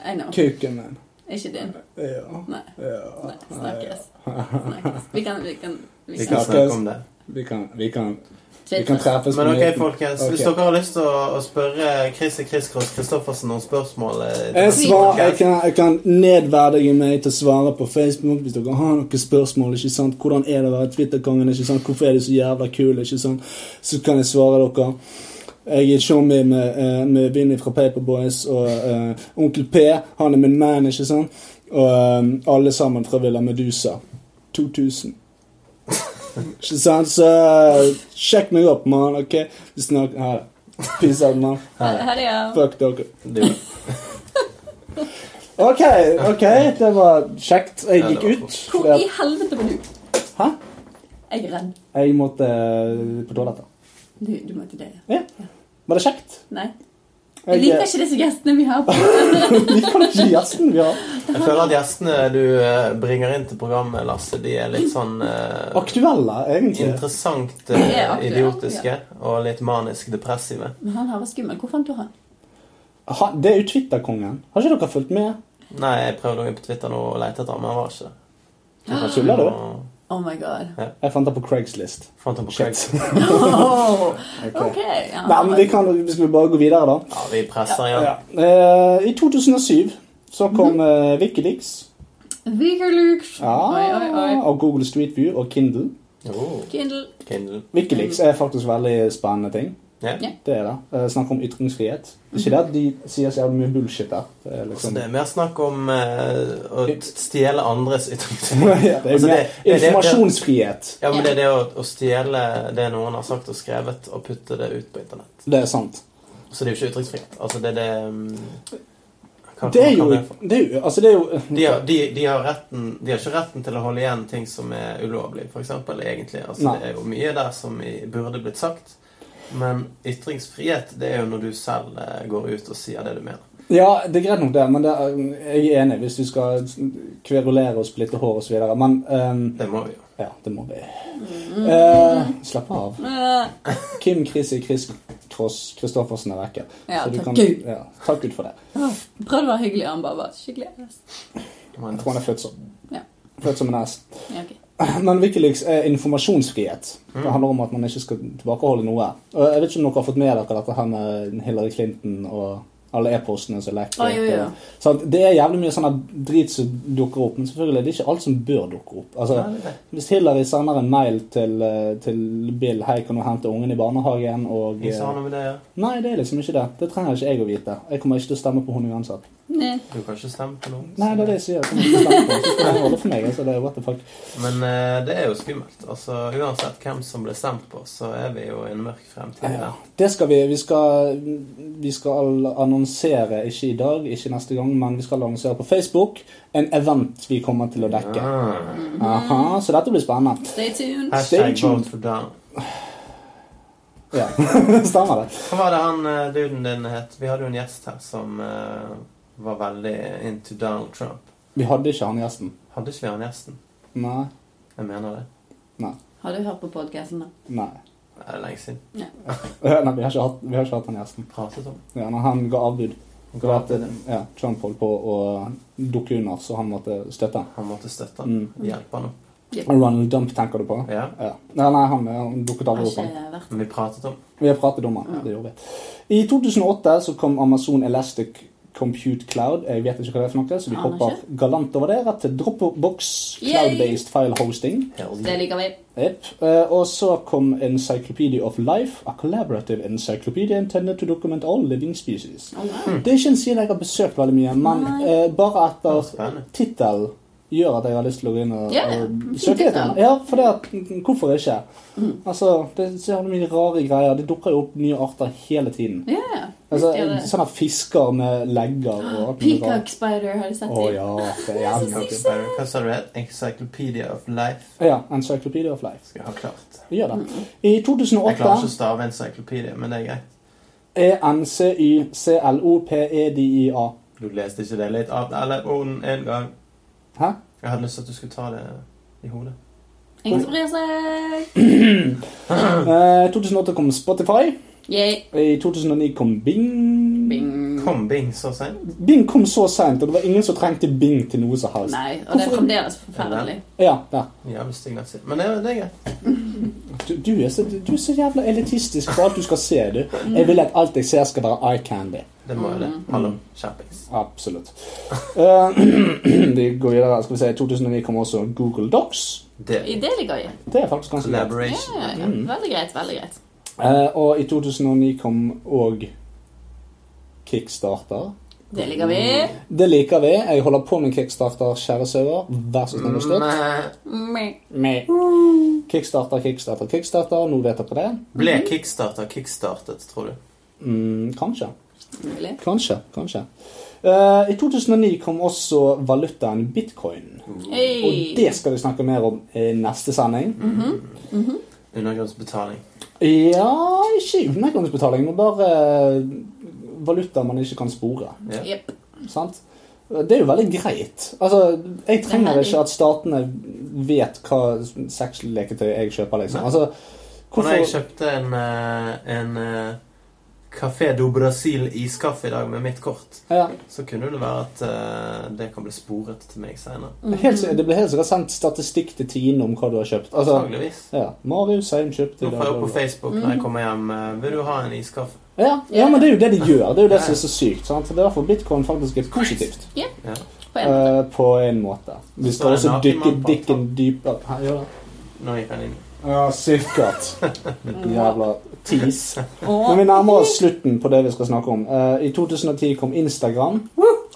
[SPEAKER 3] I know.
[SPEAKER 2] Kuken min.
[SPEAKER 3] Ikke din.
[SPEAKER 2] Ja.
[SPEAKER 3] Nei.
[SPEAKER 2] ja.
[SPEAKER 3] Nei. Snakkes. Snakkes. Vi kan, vi kan,
[SPEAKER 1] Vi
[SPEAKER 3] vi
[SPEAKER 1] kan
[SPEAKER 3] kan
[SPEAKER 1] snakke om det.
[SPEAKER 2] Vi kan, vi kan, vi kan
[SPEAKER 3] Twitter.
[SPEAKER 2] treffes
[SPEAKER 1] Men
[SPEAKER 2] på
[SPEAKER 1] ok,
[SPEAKER 2] midten.
[SPEAKER 1] folkens. Hvis
[SPEAKER 2] Ok.
[SPEAKER 1] dere har lyst til å, å spørre Chris og Chris Cross Christoffersen noen spørsmål eh,
[SPEAKER 2] Jeg, svar, jeg,
[SPEAKER 1] Ok.
[SPEAKER 2] kan, jeg kan nedverdige meg til å svare på Facebook hvis dere har noen spørsmål. ikke sant? Hvordan er det å være Twitter-kongen? ikke sant? Hvorfor er de så jævla kule? ikke sant? Så kan jeg svare dere. Jeg er showmy med, eh, med Vinny fra Paperboys og eh, Onkel P. Han er min man, ikke sant? Og eh, alle sammen fra Villa Medusa. 2000. Ikke sant? Så eh, sjekk meg opp, mann. OK? Vi snakker Ha det. Peace out, mann.
[SPEAKER 3] Ha det, ja.
[SPEAKER 2] Fuck dere.
[SPEAKER 1] Du,
[SPEAKER 2] Ok, ok, det var kjekt. Jeg
[SPEAKER 1] Ja, det
[SPEAKER 2] gikk
[SPEAKER 1] var
[SPEAKER 2] ut.
[SPEAKER 3] Hvor
[SPEAKER 2] fordi
[SPEAKER 3] i helvete var du?
[SPEAKER 2] Hæ?
[SPEAKER 3] Jeg er redd.
[SPEAKER 2] at Jeg måtte eh, på toalettet.
[SPEAKER 3] Du, du må til det. ja.
[SPEAKER 2] Var det kjekt?
[SPEAKER 3] Nei. Jeg
[SPEAKER 2] Jeg
[SPEAKER 3] liker
[SPEAKER 2] eh,
[SPEAKER 3] ikke disse gjestene vi har. på.
[SPEAKER 2] (laughs) liker ikke gjesten vi har.
[SPEAKER 1] jeg føler at gjestene du eh, bringer inn til programmet, Lasse, de er litt sånn eh,
[SPEAKER 2] Aktuelle, egentlig.
[SPEAKER 1] Interessant
[SPEAKER 3] Det er
[SPEAKER 1] eh,
[SPEAKER 3] aktuelt,
[SPEAKER 1] idiotiske og litt manisk depressive.
[SPEAKER 3] Men han her var skummel. Hvor fant du han?
[SPEAKER 2] Ha, det er jo Twitter-kongen. Har ikke dere fulgt med?
[SPEAKER 1] Nei, jeg prøvde å gå inn på Twitter nå og lete etter ham, men han var ikke det.
[SPEAKER 2] Tuller du?
[SPEAKER 1] Og
[SPEAKER 3] Oh my
[SPEAKER 2] (laughs)
[SPEAKER 3] god.
[SPEAKER 2] Jeg fant det på Craigslist.
[SPEAKER 1] Fant ham på
[SPEAKER 2] Shit.
[SPEAKER 1] (laughs) Craigslist.
[SPEAKER 3] Oh,
[SPEAKER 2] Ok.
[SPEAKER 3] ok. Ja,
[SPEAKER 2] Nei, men vi kan, vi skal bare gå videre, da.
[SPEAKER 1] Ja, vi presser igjen.
[SPEAKER 2] Ja. Eh, I 2007 så
[SPEAKER 3] Mhm.
[SPEAKER 2] kom eh, Wikileaks
[SPEAKER 3] Vigerlux.
[SPEAKER 2] ja,
[SPEAKER 3] Oi, oi, oi.
[SPEAKER 2] og Google Street View og Kindle.
[SPEAKER 1] Oh,
[SPEAKER 3] Kindle.
[SPEAKER 1] Kindle.
[SPEAKER 2] Wikileaks
[SPEAKER 3] Mhm.
[SPEAKER 2] er faktisk veldig spennende ting.
[SPEAKER 1] Ja.
[SPEAKER 3] Ja.
[SPEAKER 2] Det er det. Eh, Snakk om ytringsfrihet. Ikke det at de sier så jævlig mye bullshit der. Det er
[SPEAKER 1] Altså,
[SPEAKER 2] (laughs) liksom...
[SPEAKER 1] det er mer snakk om eh, å t- stjele andres
[SPEAKER 2] (laughs) Ja,
[SPEAKER 1] ytringsfrihet.
[SPEAKER 2] det er
[SPEAKER 1] Altså, det-
[SPEAKER 2] mer
[SPEAKER 1] det- det-
[SPEAKER 2] informasjonsfrihet.
[SPEAKER 1] Ja, men det er det å, å stjele det noen har sagt og skrevet, og putte det ut på internett.
[SPEAKER 2] Det er sant.
[SPEAKER 1] Så det er jo ikke ytringsfrihet. Altså, det er det mm, hva-
[SPEAKER 2] Det er
[SPEAKER 1] hva
[SPEAKER 2] jo,
[SPEAKER 1] kaller jeg for?
[SPEAKER 2] det er jo Altså, det er jo
[SPEAKER 1] de har, de, de, har retten, de har ikke retten til å holde igjen ting som er ulovlig, for eksempel, egentlig. Altså,
[SPEAKER 2] Nei.
[SPEAKER 1] det er jo mye der som i- burde blitt sagt. Men ytringsfrihet det er jo når du selv eh, går ut og sier det du mener.
[SPEAKER 2] Ja, det er greit nok, det, men det er, jeg er enig hvis vi skal kverulere og splitte hår osv. Men ehm,
[SPEAKER 1] Det må vi jo.
[SPEAKER 2] Ja, det må vi.
[SPEAKER 3] Mm.
[SPEAKER 2] Eh, slapp av.
[SPEAKER 3] Eh,
[SPEAKER 2] Kim Krisi Chris Kross Christoffersen er vekke.
[SPEAKER 3] Ja,
[SPEAKER 2] Så du
[SPEAKER 3] takk
[SPEAKER 2] kan-
[SPEAKER 3] Gud.
[SPEAKER 2] Ja, takk Gud for det.
[SPEAKER 3] Prøvde å være hyggelig, han bare var skikkelig ass.
[SPEAKER 2] Jeg tror han er født som.
[SPEAKER 3] Ja.
[SPEAKER 2] Født som en hest.
[SPEAKER 3] Ja, ok.
[SPEAKER 2] Men Wikileaks er informasjonsfrihet. Det handler om at man ikke skal tilbakeholde noe. Og Jeg vet ikke om dere har fått med dere dette her med Hillary Clinton og alle e-postene som lekker.
[SPEAKER 3] Oi, oi, oi.
[SPEAKER 2] Sant? det er jævlig mye sånn her drit som dukker opp, men selvfølgelig det er ikke alt som bør dukke opp. Altså,
[SPEAKER 1] Nei, det er det.
[SPEAKER 2] hvis Hillary sender en mail til, eh, til Bill 'Hei, kan du hente ungen i barnehagen?' og
[SPEAKER 1] Ikke
[SPEAKER 2] eh,
[SPEAKER 1] sa noe med det, ja.
[SPEAKER 2] Nei, det er liksom ikke det. Det trenger ikke jeg å vite. Jeg kommer ikke til å stemme på henne uansett.
[SPEAKER 3] Nei.
[SPEAKER 1] Du kan ikke stemme på noen.
[SPEAKER 2] Nei, det er det jeg sier. Kommer ikke blant på. Så skal han holde for meg. Altså, det er what the fuck.
[SPEAKER 1] Men eh, det er jo skummelt. Altså, Uansett hvem som ble stemt på, så er vi jo i en mørk fremtid.
[SPEAKER 2] Ja,
[SPEAKER 1] der.
[SPEAKER 2] det skal vi. Vi skal, vi skal annonsere, ikke i dag, ikke neste gang, men vi skal annonsere på Facebook en event vi kommer til å dekke.
[SPEAKER 1] Ah.
[SPEAKER 2] Aha, så dette blir spennende.
[SPEAKER 3] Stay tuned.
[SPEAKER 1] Hashtag
[SPEAKER 2] tuned.
[SPEAKER 1] vote for down.
[SPEAKER 2] Ja, (laughs) Stemmer det?
[SPEAKER 1] Hva var det han eh, duden din het? Vi hadde jo en gjest her som eh, var veldig into Donald Trump.
[SPEAKER 2] Vi hadde ikke han gjesten.
[SPEAKER 1] Hadde ikke vi han gjesten?
[SPEAKER 2] Nei.
[SPEAKER 1] Jeg mener det.
[SPEAKER 3] Har du hørt på podkasten, da?
[SPEAKER 2] Nei. Eh,
[SPEAKER 1] Det er lenge siden.
[SPEAKER 3] Ja.
[SPEAKER 2] Nei, vi har ikke hatt, vi har ikke hatt han gjesten.
[SPEAKER 1] Pratet om.
[SPEAKER 2] Ja, når han ga avbud.
[SPEAKER 1] det.
[SPEAKER 2] Ga at, ja, Trump holdt på å dukke under, så han måtte støtte.
[SPEAKER 1] Han måtte støtte han.
[SPEAKER 2] Mm.
[SPEAKER 1] Hjelpe han opp.
[SPEAKER 2] Ronald Dump tenker du på?
[SPEAKER 1] Ja.
[SPEAKER 2] Ja. Nei, nei han, han dukket
[SPEAKER 3] Har
[SPEAKER 2] aldri opp.
[SPEAKER 3] ikke
[SPEAKER 2] han.
[SPEAKER 3] vært
[SPEAKER 1] Men vi pratet om
[SPEAKER 2] Vi har pratet om den.
[SPEAKER 3] Ja.
[SPEAKER 2] Det gjorde vi. I 2008 så kom Amazon Elastic Compute Cloud. Jeg vet ikke hva det er for noe, så vi
[SPEAKER 3] Aner
[SPEAKER 2] hopper galant over det. Rett til Dropbox Cloud-based file hosting.
[SPEAKER 1] Hell
[SPEAKER 3] Det liker vi.
[SPEAKER 2] Yep. Eh, Og så kom Encyclopedia of Life, a collaborative encyclopedia intended to document all living species.
[SPEAKER 3] Å, nei.
[SPEAKER 2] Det er ikke en side jeg har besøkt veldig mye, men
[SPEAKER 3] Mm. Nei.
[SPEAKER 2] eh, bare etter
[SPEAKER 1] Spennende.
[SPEAKER 2] tittel gjør at jeg har lyst til å gå inn og,
[SPEAKER 3] Ja,
[SPEAKER 2] og
[SPEAKER 3] fin
[SPEAKER 2] søke etter den.
[SPEAKER 3] tittel.
[SPEAKER 2] Ja, for det at, mm, hvorfor ikke?
[SPEAKER 3] Mm.
[SPEAKER 2] Altså, det er så jævlig mye rare greier. Det dukker jo opp nye arter hele tiden.
[SPEAKER 3] Ja, ja.
[SPEAKER 2] Altså,
[SPEAKER 3] Visst gjør det.
[SPEAKER 2] sånne fisker med legger og alt mulig rart.
[SPEAKER 3] Peacock spider, har du sett
[SPEAKER 2] Å
[SPEAKER 3] det?
[SPEAKER 2] ja, det er jævlig
[SPEAKER 1] Coke and Berry. Hva sa du det het? Encyclopedia of Life?
[SPEAKER 2] Ja, Encyclopedia of Life.
[SPEAKER 1] Skal jeg ha klart.
[SPEAKER 2] Gjør
[SPEAKER 3] Mm.
[SPEAKER 2] det. I
[SPEAKER 1] Jeg klarer ikke
[SPEAKER 2] 2008
[SPEAKER 1] å stave encyclopedia, men det er greit.
[SPEAKER 2] E E-N-C-Y-C-L-O-P-E-D-I-A.
[SPEAKER 1] Du leste ikke det litt av alle ordene en gang. (clears throat)
[SPEAKER 2] Hæ?
[SPEAKER 1] Jeg hadde lyst til at du skulle ta det i hodet.
[SPEAKER 3] Ingen som bryr seg.
[SPEAKER 2] Eh, 2008 kom Spotify.
[SPEAKER 3] Yay.
[SPEAKER 2] I 2009 kom Bing.
[SPEAKER 3] Bing.
[SPEAKER 1] Kom Bing så sent.
[SPEAKER 2] Bing kom så seint, og det var ingen som trengte Bing til noe som helst.
[SPEAKER 3] Nei, og det er
[SPEAKER 2] Hvorfor-
[SPEAKER 3] fremdeles forferdelig.
[SPEAKER 2] Ja, der.
[SPEAKER 1] Jævlig stygg nettside. Men det, er- det er greit.
[SPEAKER 2] Du, du, er så, du er så jævla elitistisk på alt du skal se, du.
[SPEAKER 3] Mm.
[SPEAKER 2] Jeg vil at alt jeg ser, skal være eye candy.
[SPEAKER 1] Det må jo det. Hallo, kjappings.
[SPEAKER 2] Absolutt. Eh, (clears throat) vi går videre. Skal vi se, I 2009 kom også Google Docs.
[SPEAKER 3] I
[SPEAKER 1] Det.
[SPEAKER 3] det liker vi.
[SPEAKER 2] Det er faktisk ganske greit.
[SPEAKER 1] Collaboration.
[SPEAKER 3] Ja, ja.
[SPEAKER 2] Mm.
[SPEAKER 3] Veldig greit, veldig greit.
[SPEAKER 2] Eh, og i 2009 kom òg Kickstarter.
[SPEAKER 3] Det liker vi.
[SPEAKER 2] Det liker vi. Jeg holder på med Kickstarter, kjære sauer. Vær så snill og støtt.
[SPEAKER 1] Men
[SPEAKER 2] Mm.
[SPEAKER 3] Meh.
[SPEAKER 2] Meh. Kickstarter, kickstarter, kickstarter. Nå vet dere det.
[SPEAKER 1] Ble kickstarter kickstartet, tror du?
[SPEAKER 2] Mm, kanskje.
[SPEAKER 3] Mulig.
[SPEAKER 2] Kanskje. Kanskje. Eh, I 2009 kom også valutaen bitcoin. Og
[SPEAKER 3] Hey.
[SPEAKER 2] det skal vi snakke mer om i neste sending.
[SPEAKER 3] Mhm.
[SPEAKER 1] Undergrunnsbetaling.
[SPEAKER 2] Ja, ikke undergangsbetaling, men bare eh, valuta man ikke kan spore.
[SPEAKER 1] Ja.
[SPEAKER 3] Jepp.
[SPEAKER 2] Sant? Det er jo veldig greit. Altså, jeg trenger
[SPEAKER 3] Det er
[SPEAKER 2] ikke at statene vet hva sexleketøy jeg kjøper, liksom.
[SPEAKER 1] Nei.
[SPEAKER 2] Altså,
[SPEAKER 1] Og når jeg
[SPEAKER 2] hvorfor
[SPEAKER 1] kjøpte en, eh, en eh, Café do Brasil iskaffe i dag med mitt kort,
[SPEAKER 2] ja,
[SPEAKER 1] så kunne det være at eh, det kan bli sporet til meg seinere.
[SPEAKER 3] Mhm.
[SPEAKER 2] helt, sikkert- Det blir helt sikkert sendt statistikk til Tine om hva du har kjøpt. Altså,
[SPEAKER 1] Antageligvis.
[SPEAKER 2] ja, Marius Seim kjøpte i
[SPEAKER 1] Nå får jeg
[SPEAKER 2] dag,
[SPEAKER 1] opp på
[SPEAKER 2] og-
[SPEAKER 1] Facebook når jeg
[SPEAKER 3] Mhm.
[SPEAKER 1] kommer hjem eh, 'Vil du ha en iskaffe?'
[SPEAKER 2] ja, ja, men det er jo det de gjør. Det er jo det som er så sykt. Sant? Det er derfor bitcoin faktisk er positivt.
[SPEAKER 1] Ja.
[SPEAKER 3] På en måte.
[SPEAKER 2] eh, på en måte.
[SPEAKER 1] Så
[SPEAKER 2] Vi
[SPEAKER 1] er
[SPEAKER 2] skal
[SPEAKER 1] det
[SPEAKER 2] også
[SPEAKER 1] naken
[SPEAKER 2] dykke
[SPEAKER 1] mann på
[SPEAKER 2] dikken dypere Hæ, gjør det?
[SPEAKER 1] Nå gikk han inn.
[SPEAKER 2] Ja, sikkert. Jævla tis. Men vi
[SPEAKER 3] Og
[SPEAKER 2] nærmer oss slutten på det vi skal snakke om. Eh, I 2010 kom Instagram.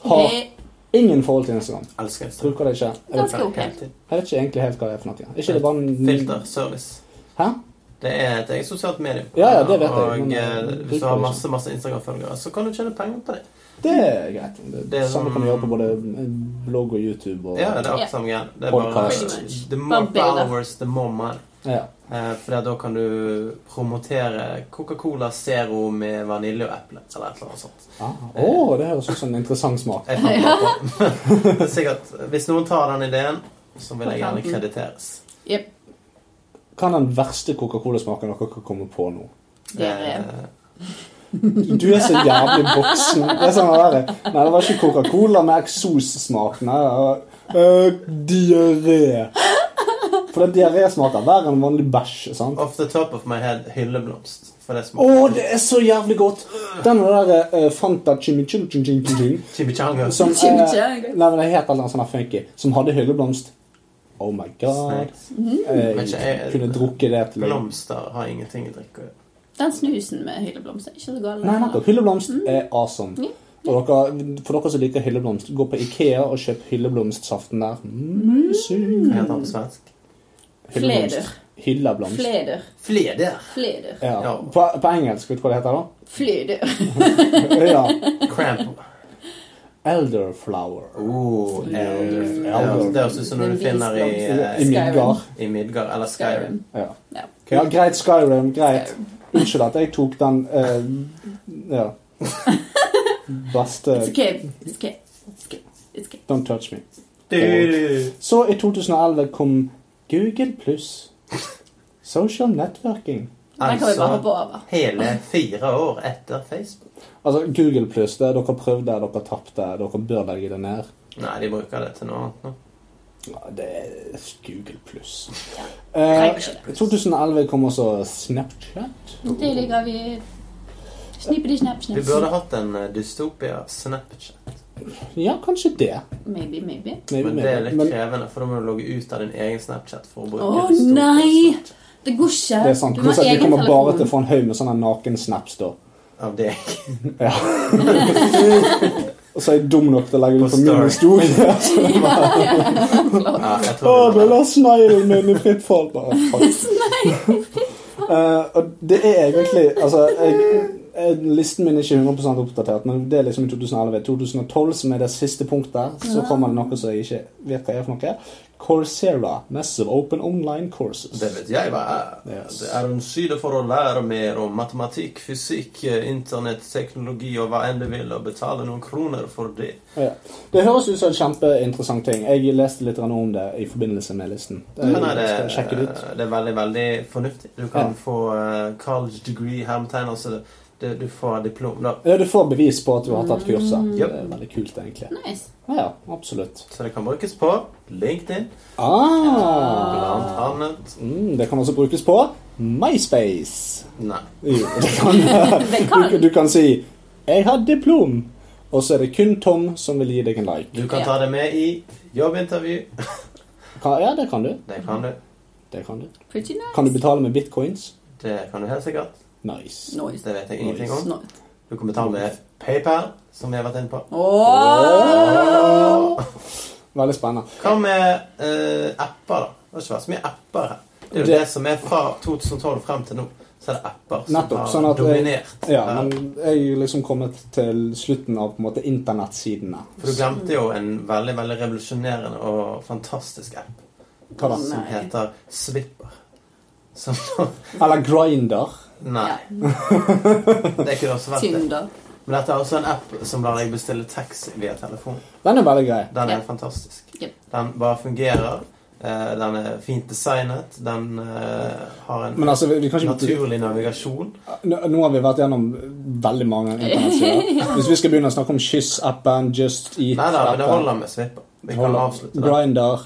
[SPEAKER 2] Har
[SPEAKER 3] det
[SPEAKER 2] ingen forhold til Instagram.
[SPEAKER 1] Elsker Instagram.
[SPEAKER 2] Bruker det ikke. Jeg vet,
[SPEAKER 3] Ganske ok.
[SPEAKER 2] jeg vet ikke egentlig helt hva det er for noe. Er Ikke det bare en
[SPEAKER 1] Filter. Service.
[SPEAKER 2] Hæ?
[SPEAKER 1] Det er et eget sosialt medium.
[SPEAKER 2] Ja, ja, det vet jeg,
[SPEAKER 1] Og
[SPEAKER 2] men,
[SPEAKER 1] eh,
[SPEAKER 2] eh,
[SPEAKER 1] hvis du har
[SPEAKER 2] bruker
[SPEAKER 1] masse masse Instagram-følgere, så kan du tjene penger på det.
[SPEAKER 2] Det er greit. Det,
[SPEAKER 1] Det er
[SPEAKER 2] samme
[SPEAKER 1] sånn-
[SPEAKER 2] kan du gjøre på både blogg og YouTube. Og,
[SPEAKER 1] Ja, det er
[SPEAKER 3] Ja.
[SPEAKER 1] akkurat samme greie. Det er bare
[SPEAKER 2] Podcast.
[SPEAKER 3] Pretty much.
[SPEAKER 1] The more
[SPEAKER 3] Bare bilder.
[SPEAKER 1] followers, the more money.
[SPEAKER 2] Ja.
[SPEAKER 1] Eh, For da kan du promotere Coca-Cola Zero med vanilje og eple. Eller et eller annet sånt.
[SPEAKER 2] Ah, Å, det høres ut som en interessant smak.
[SPEAKER 1] Jeg fant det på. (laughs) Men det er Sikkert, hvis noen tar den ideen, så vil jeg gjerne krediteres.
[SPEAKER 3] Jepp.
[SPEAKER 2] Hva er den verste Coca-Cola-smaken dere kan komme på nå?
[SPEAKER 3] Det er
[SPEAKER 1] Eh,
[SPEAKER 2] Du er så jævlig voksen. Det er sånn der. Nei, det var ikke Coca-Cola med eksossmak. Nei, det var øh, diaré. For det diaré smaker verre enn vanlig bæsj. sant?
[SPEAKER 1] Off the top of my head hylleblomst. For det
[SPEAKER 2] Å,
[SPEAKER 1] smaker
[SPEAKER 2] det er så jævlig godt! Den der øh, Fanta chimichurri
[SPEAKER 1] chimichanga.
[SPEAKER 2] som eh,
[SPEAKER 3] Chimichanga.
[SPEAKER 2] Nei, men det het noe sånn her funky. Som hadde hylleblomst. Oh my god.
[SPEAKER 1] Snacks. Men ikke eh,
[SPEAKER 2] Jeg
[SPEAKER 1] jeg-
[SPEAKER 2] kunne drukket det til
[SPEAKER 1] Blomster har ingenting å drikke å gjøre.
[SPEAKER 3] Den snusen med hylleblomster er ikke så gal.
[SPEAKER 2] Nei, nettopp. Hylleblomst er awesome.
[SPEAKER 3] Mm. Ja,
[SPEAKER 2] Og dere, for dere som liker hylleblomst, gå på Ikea og kjøp hylleblomstsaften der.
[SPEAKER 3] Mm.
[SPEAKER 2] Mysig.
[SPEAKER 1] Hva heter han på svensk?
[SPEAKER 3] Fleder.
[SPEAKER 2] Hylleblomst.
[SPEAKER 3] Fleder.
[SPEAKER 1] Fleder.
[SPEAKER 3] Fleder.
[SPEAKER 2] Ja.
[SPEAKER 1] Ja.
[SPEAKER 2] På, på engelsk, vet du hva det heter da?
[SPEAKER 3] Fleder.
[SPEAKER 2] ja.
[SPEAKER 3] (laughs)
[SPEAKER 1] Cramp.
[SPEAKER 2] Elderflower.
[SPEAKER 1] Oh, elder.
[SPEAKER 3] Mm.
[SPEAKER 1] elder. Det høres ut som når du
[SPEAKER 3] Den
[SPEAKER 1] finner i,
[SPEAKER 2] I
[SPEAKER 1] eh,
[SPEAKER 2] Midgard.
[SPEAKER 1] i Midgard eller Skyrim.
[SPEAKER 3] Skyrim.
[SPEAKER 2] Ja.
[SPEAKER 3] Ja.
[SPEAKER 2] ja, greit, Skyrim. Greit.
[SPEAKER 3] Skyrim.
[SPEAKER 2] Unnskyld at jeg tok den eh,
[SPEAKER 3] (laughs)
[SPEAKER 2] Ja. Beste
[SPEAKER 3] It's okay. It's okay. It's okay. It's okay.
[SPEAKER 2] Don't touch me.
[SPEAKER 1] Du.
[SPEAKER 2] Så i 2011 kom Google pluss. Social networking.
[SPEAKER 3] Den kan vi
[SPEAKER 1] Altså-
[SPEAKER 3] bare hoppe
[SPEAKER 2] Eh,
[SPEAKER 3] over.
[SPEAKER 1] Hele fire år etter Facebook.
[SPEAKER 2] Altså, Google pluss, det er dere prøvde, dere tapte, dere bør legge det ned.
[SPEAKER 1] Nei, de bruker det til noe annet nå.
[SPEAKER 2] Ja, det er Google pluss.
[SPEAKER 3] Ja.
[SPEAKER 2] Eh,
[SPEAKER 3] Trenger ikke det.
[SPEAKER 2] 2011 kom også Snapchat.
[SPEAKER 3] Det liker vi Snippity snap
[SPEAKER 1] Vi
[SPEAKER 3] snap.
[SPEAKER 1] burde hatt en eh, dystopia Snapchat.
[SPEAKER 2] Ja, kanskje det.
[SPEAKER 3] Maybe, maybe.
[SPEAKER 2] Maybe,
[SPEAKER 1] Men det er
[SPEAKER 2] maybe.
[SPEAKER 1] litt krevende, for da må du logge ut av din egen Snapchat for å bruke
[SPEAKER 3] Å,
[SPEAKER 1] dystopia
[SPEAKER 3] nei!
[SPEAKER 1] Snapchat
[SPEAKER 3] Det går ikke.
[SPEAKER 2] det er sant.
[SPEAKER 3] Du må
[SPEAKER 2] Pluss at
[SPEAKER 3] ha
[SPEAKER 2] vi
[SPEAKER 3] egen
[SPEAKER 2] kommer bare
[SPEAKER 3] telefon.
[SPEAKER 2] til å
[SPEAKER 3] (laughs)
[SPEAKER 2] få en haug med sånne naken-snaps, da. (laughs)
[SPEAKER 1] Av deg.
[SPEAKER 2] Og så er jeg dum nok til å legge
[SPEAKER 1] På
[SPEAKER 2] ut på min
[SPEAKER 1] Story. (laughs)
[SPEAKER 2] historie.
[SPEAKER 1] Ja, jeg
[SPEAKER 2] (laughs) Å,
[SPEAKER 1] tror det
[SPEAKER 2] du
[SPEAKER 1] var
[SPEAKER 2] la sneglen min i fritt fall. Bare, fuck. Eh, og det er egentlig Altså, jeg, jeg, listen min er ikke 100 oppdatert, men det er liksom i 2011. 2012, som er det siste punktet, så kommer det noe som jeg ikke vet hva er for noe. Coursera. Massive Open Online Courses.
[SPEAKER 1] Det vet jeg hva er.
[SPEAKER 2] Yes.
[SPEAKER 1] Det er en side for å lære mer om matematikk, fysikk, eh, internett, teknologi og hva enn du vil, og betale noen kroner for det.
[SPEAKER 2] Ja. Det høres ut som en kjempeinteressant ting. Jeg leste litt grann om det i forbindelse med listen. Jeg
[SPEAKER 1] Men er det, eh,
[SPEAKER 2] skal sjekke det ut.
[SPEAKER 1] det er veldig, veldig fornuftig. Du kan
[SPEAKER 2] Ja.
[SPEAKER 1] få eh, college degree, hermetegn, altså det, det, du får diplom da.
[SPEAKER 2] Ja, du får bevis på at du har tatt kurset.
[SPEAKER 1] Yep.
[SPEAKER 2] Det er veldig kult, egentlig.
[SPEAKER 3] Nice.
[SPEAKER 2] Ja, ja, absolutt.
[SPEAKER 1] Så det kan brukes på LinkedIn,
[SPEAKER 2] Ah,
[SPEAKER 1] blant annet.
[SPEAKER 2] mm, det kan også brukes på MySpace.
[SPEAKER 1] Nei.
[SPEAKER 2] Jo, det kan,
[SPEAKER 3] Det
[SPEAKER 2] (laughs) du,
[SPEAKER 3] kan.
[SPEAKER 2] du kan si 'Jeg har diplom', og så er det kun Tom som vil gi deg en like.
[SPEAKER 1] Du kan
[SPEAKER 3] Ja.
[SPEAKER 1] ta det med i jobbintervju.
[SPEAKER 2] Kan, ja, det kan du.
[SPEAKER 1] Det kan du.
[SPEAKER 2] Det kan du.
[SPEAKER 3] Pretty nice.
[SPEAKER 2] Kan du betale med bitcoins?
[SPEAKER 1] Det kan du helt sikkert.
[SPEAKER 2] Nice.
[SPEAKER 3] Nice.
[SPEAKER 1] Det vet jeg ingenting om.
[SPEAKER 3] Nice.
[SPEAKER 1] Du kan betale med PayPal, som vi har vært inne på.
[SPEAKER 3] Åh!
[SPEAKER 2] Veldig spennende.
[SPEAKER 1] Hva med eh, apper, da? Det har ikke vært så mye apper her. Det er jo
[SPEAKER 2] Det-
[SPEAKER 1] det som er fra 2012 frem til nå, så er det apper som
[SPEAKER 2] Nettopp,
[SPEAKER 1] har
[SPEAKER 2] sånn at jeg-
[SPEAKER 1] dominert.
[SPEAKER 2] Ja, men jeg er jo liksom kommet til slutten av på en måte internettsidene.
[SPEAKER 1] For du glemte jo en veldig veldig revolusjonerende og fantastisk app
[SPEAKER 2] Hva da?
[SPEAKER 1] som
[SPEAKER 3] Nei.
[SPEAKER 1] heter Swipper. Som (laughs) da
[SPEAKER 2] Eller Grinder.
[SPEAKER 1] Nei,
[SPEAKER 3] Ja.
[SPEAKER 1] det er ikke det som er verdt det.
[SPEAKER 3] Tinder.
[SPEAKER 1] Men dette er også en app som lar deg bestille taxi via telefon.
[SPEAKER 2] Den er veldig grei.
[SPEAKER 1] Den er
[SPEAKER 3] Ja.
[SPEAKER 1] fantastisk.
[SPEAKER 3] Yep.
[SPEAKER 1] Den bare fungerer. eh, Den er fint designet. Den eh, har en
[SPEAKER 2] Men altså, vi, vi kan ikke
[SPEAKER 1] naturlig navigasjon.
[SPEAKER 2] Nå nå har vi vært gjennom veldig mange internettsider. Hvis vi skal begynne å snakke om Kyss-appen, Just
[SPEAKER 1] Nei da, men det
[SPEAKER 2] Eat-appen
[SPEAKER 1] holder med Swipper. Vi kan avslutte det.
[SPEAKER 2] Grinder,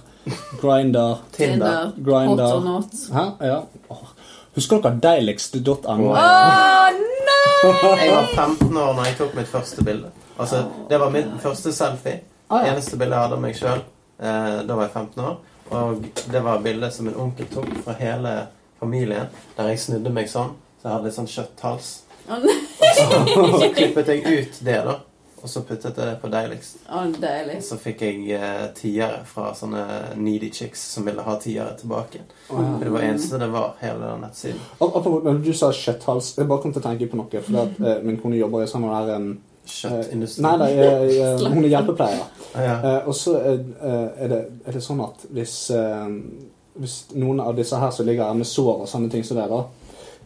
[SPEAKER 2] Grinder
[SPEAKER 1] Tinder.
[SPEAKER 3] Tinder.
[SPEAKER 2] Grindr.
[SPEAKER 3] Hot or not.
[SPEAKER 2] Hæ? Ja. Åh. Husker dere deiligst.no?
[SPEAKER 1] Åh.
[SPEAKER 3] Åh, nei!
[SPEAKER 1] Jeg var 15 år når jeg tok mitt første bilde. Altså, Det var min første selfie.
[SPEAKER 2] Ah, ja.
[SPEAKER 1] Eneste bilde jeg hadde av meg sjøl. Da var jeg 15 år. Og det var bildet som min onkel tok fra hele familien, der jeg snudde meg sånn. Så jeg hadde litt sånn kjøtthals.
[SPEAKER 3] Åh, nei.
[SPEAKER 1] Og så klippet jeg ut det, da. Og så puttet jeg det på Deiligst.
[SPEAKER 3] Åh, deilig.
[SPEAKER 1] Så fikk jeg eh, tiere fra sånne needy chicks som ville ha tiere tilbake. For det var eneste det var, hele den nettsiden.
[SPEAKER 2] Ap- apropos, Når du sa kjøtthals, jeg bare kom til å tenke på noe. Fordi at eh, Min kone jobber i sånn der um,
[SPEAKER 1] Kjøttindustri.
[SPEAKER 2] Nei, nei, eh, eh, hun er hjelpepleier.
[SPEAKER 1] Ah, ja.
[SPEAKER 2] Eh, og så er, eh, er, det, er det sånn at hvis, eh, hvis noen av disse her som ligger her med sår og sånne ting som det, da,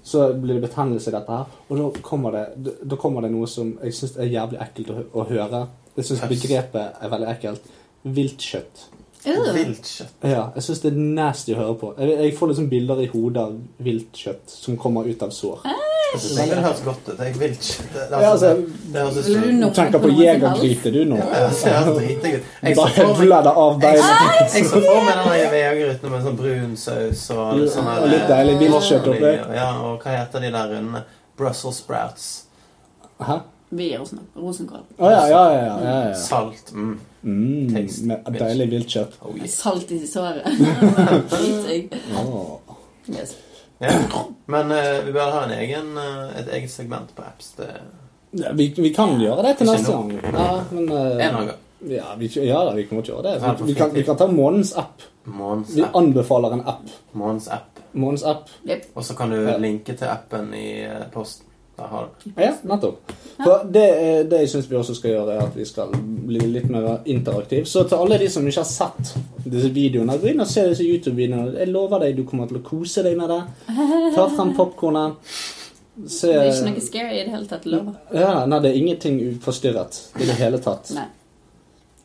[SPEAKER 2] så blir det betennelse i dette her. Og da kommer det, da- da kommer det noe som jeg syns er jævlig ekkelt å, hø- å høre. Jeg syns
[SPEAKER 1] Pest.
[SPEAKER 2] begrepet er veldig ekkelt. Viltkjøtt.
[SPEAKER 3] Øh,
[SPEAKER 1] Vilt kjøtt.
[SPEAKER 2] Ja, jeg syns det er nasty å høre på. Jeg, jeg får liksom bilder i hodet av viltkjøtt som kommer ut av sår.
[SPEAKER 1] Jeg synes ikke Altså, det høres godt ut. Jeg vilt kjøtt. Det, det,
[SPEAKER 2] Ja, altså,
[SPEAKER 1] det høres ut
[SPEAKER 3] Vil
[SPEAKER 1] som
[SPEAKER 3] du
[SPEAKER 2] du
[SPEAKER 3] nå
[SPEAKER 2] tenker på
[SPEAKER 3] noe som helst?
[SPEAKER 2] jegergryte, du nå.
[SPEAKER 1] Ja, Det høres dritdigg ut. Jeg så
[SPEAKER 2] Bare
[SPEAKER 1] for meg-
[SPEAKER 2] høvler det av
[SPEAKER 1] jeg
[SPEAKER 2] beina.
[SPEAKER 1] så- jeg så for meg den der veagryten med sånn brun saus og litt sånn
[SPEAKER 2] Og litt deilig viltkjøtt oppi.
[SPEAKER 1] Ja, og hva heter de der runde? Brussels sprouts.
[SPEAKER 2] Hæ?
[SPEAKER 3] Vi gir oss nå. Rosenkål.
[SPEAKER 2] Å ja, ja, ja. ja, ja, ja.
[SPEAKER 1] Salt. Mm.
[SPEAKER 2] Mm,
[SPEAKER 1] Tekst.
[SPEAKER 2] med deilig viltkjøtt.
[SPEAKER 1] Oh, yes.
[SPEAKER 3] Salt i
[SPEAKER 2] (laughs)
[SPEAKER 3] såret. Dritdigg.
[SPEAKER 2] Åh.
[SPEAKER 3] Yes.
[SPEAKER 1] ja. Men eh, vi bør ha en egen, eh, et eget segment på apps. Det
[SPEAKER 2] Ja, vi, vi kan gjøre det til
[SPEAKER 1] Ikke
[SPEAKER 2] neste
[SPEAKER 1] nå.
[SPEAKER 2] gang. Ja, men
[SPEAKER 1] En
[SPEAKER 2] eh,
[SPEAKER 1] eller annen gang.
[SPEAKER 2] ja, vi, ja da, vi kommer til å gjøre
[SPEAKER 1] Ja,
[SPEAKER 2] det.
[SPEAKER 1] på
[SPEAKER 2] Vi, vi, kan,
[SPEAKER 1] fritid.
[SPEAKER 2] vi kan ta månedens app.
[SPEAKER 1] Månens
[SPEAKER 2] Vi
[SPEAKER 1] app.
[SPEAKER 2] anbefaler en app.
[SPEAKER 1] Månens app.
[SPEAKER 2] Månedens app.
[SPEAKER 3] Jepp.
[SPEAKER 1] Og så kan du
[SPEAKER 2] Ja.
[SPEAKER 1] linke til appen i eh, posten. Der har du det.
[SPEAKER 2] Ja, nettopp. For det, eh, det jeg syns vi også skal gjøre, er at vi skal bli litt mer interaktiv. Så til alle de som ikke har sett disse videoene, gå inn og se disse YouTube-videoene. Jeg lover deg, du kommer til å kose deg med det. Ta frem popkornet. Se
[SPEAKER 3] Det er ikke noe scary i det hele tatt.
[SPEAKER 2] Mm.
[SPEAKER 3] Lover.
[SPEAKER 2] Ja, nei, det er ingenting forstyrret i det hele tatt.
[SPEAKER 3] Nei.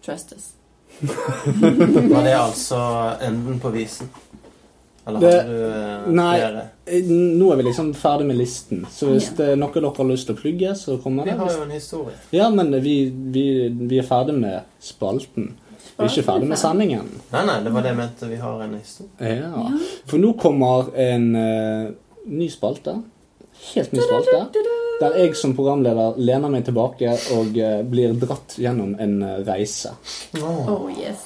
[SPEAKER 3] Trust us.
[SPEAKER 1] Var det altså enden på visen? Eller
[SPEAKER 2] Det-
[SPEAKER 1] hadde du eh,
[SPEAKER 2] Nei.
[SPEAKER 1] flere?
[SPEAKER 2] Eh, Nå er vi liksom ferdig med listen, så hvis
[SPEAKER 3] Ja.
[SPEAKER 2] det er noe dere har lyst til å plugge, så kommer
[SPEAKER 1] Vi
[SPEAKER 2] det.
[SPEAKER 1] har jo en historie.
[SPEAKER 2] Ja, men vi, vi, vi er ferdig med spalten. Vi er ikke ferdig med sendingen.
[SPEAKER 1] Nei, nei, det var det jeg mente. Vi har en historie.
[SPEAKER 2] Ja. For nå kommer en eh, ny spalte. Helt ny spalte. Der jeg som programleder lener meg tilbake og eh, blir dratt gjennom en eh, reise.
[SPEAKER 1] Åh.
[SPEAKER 3] Oh yes.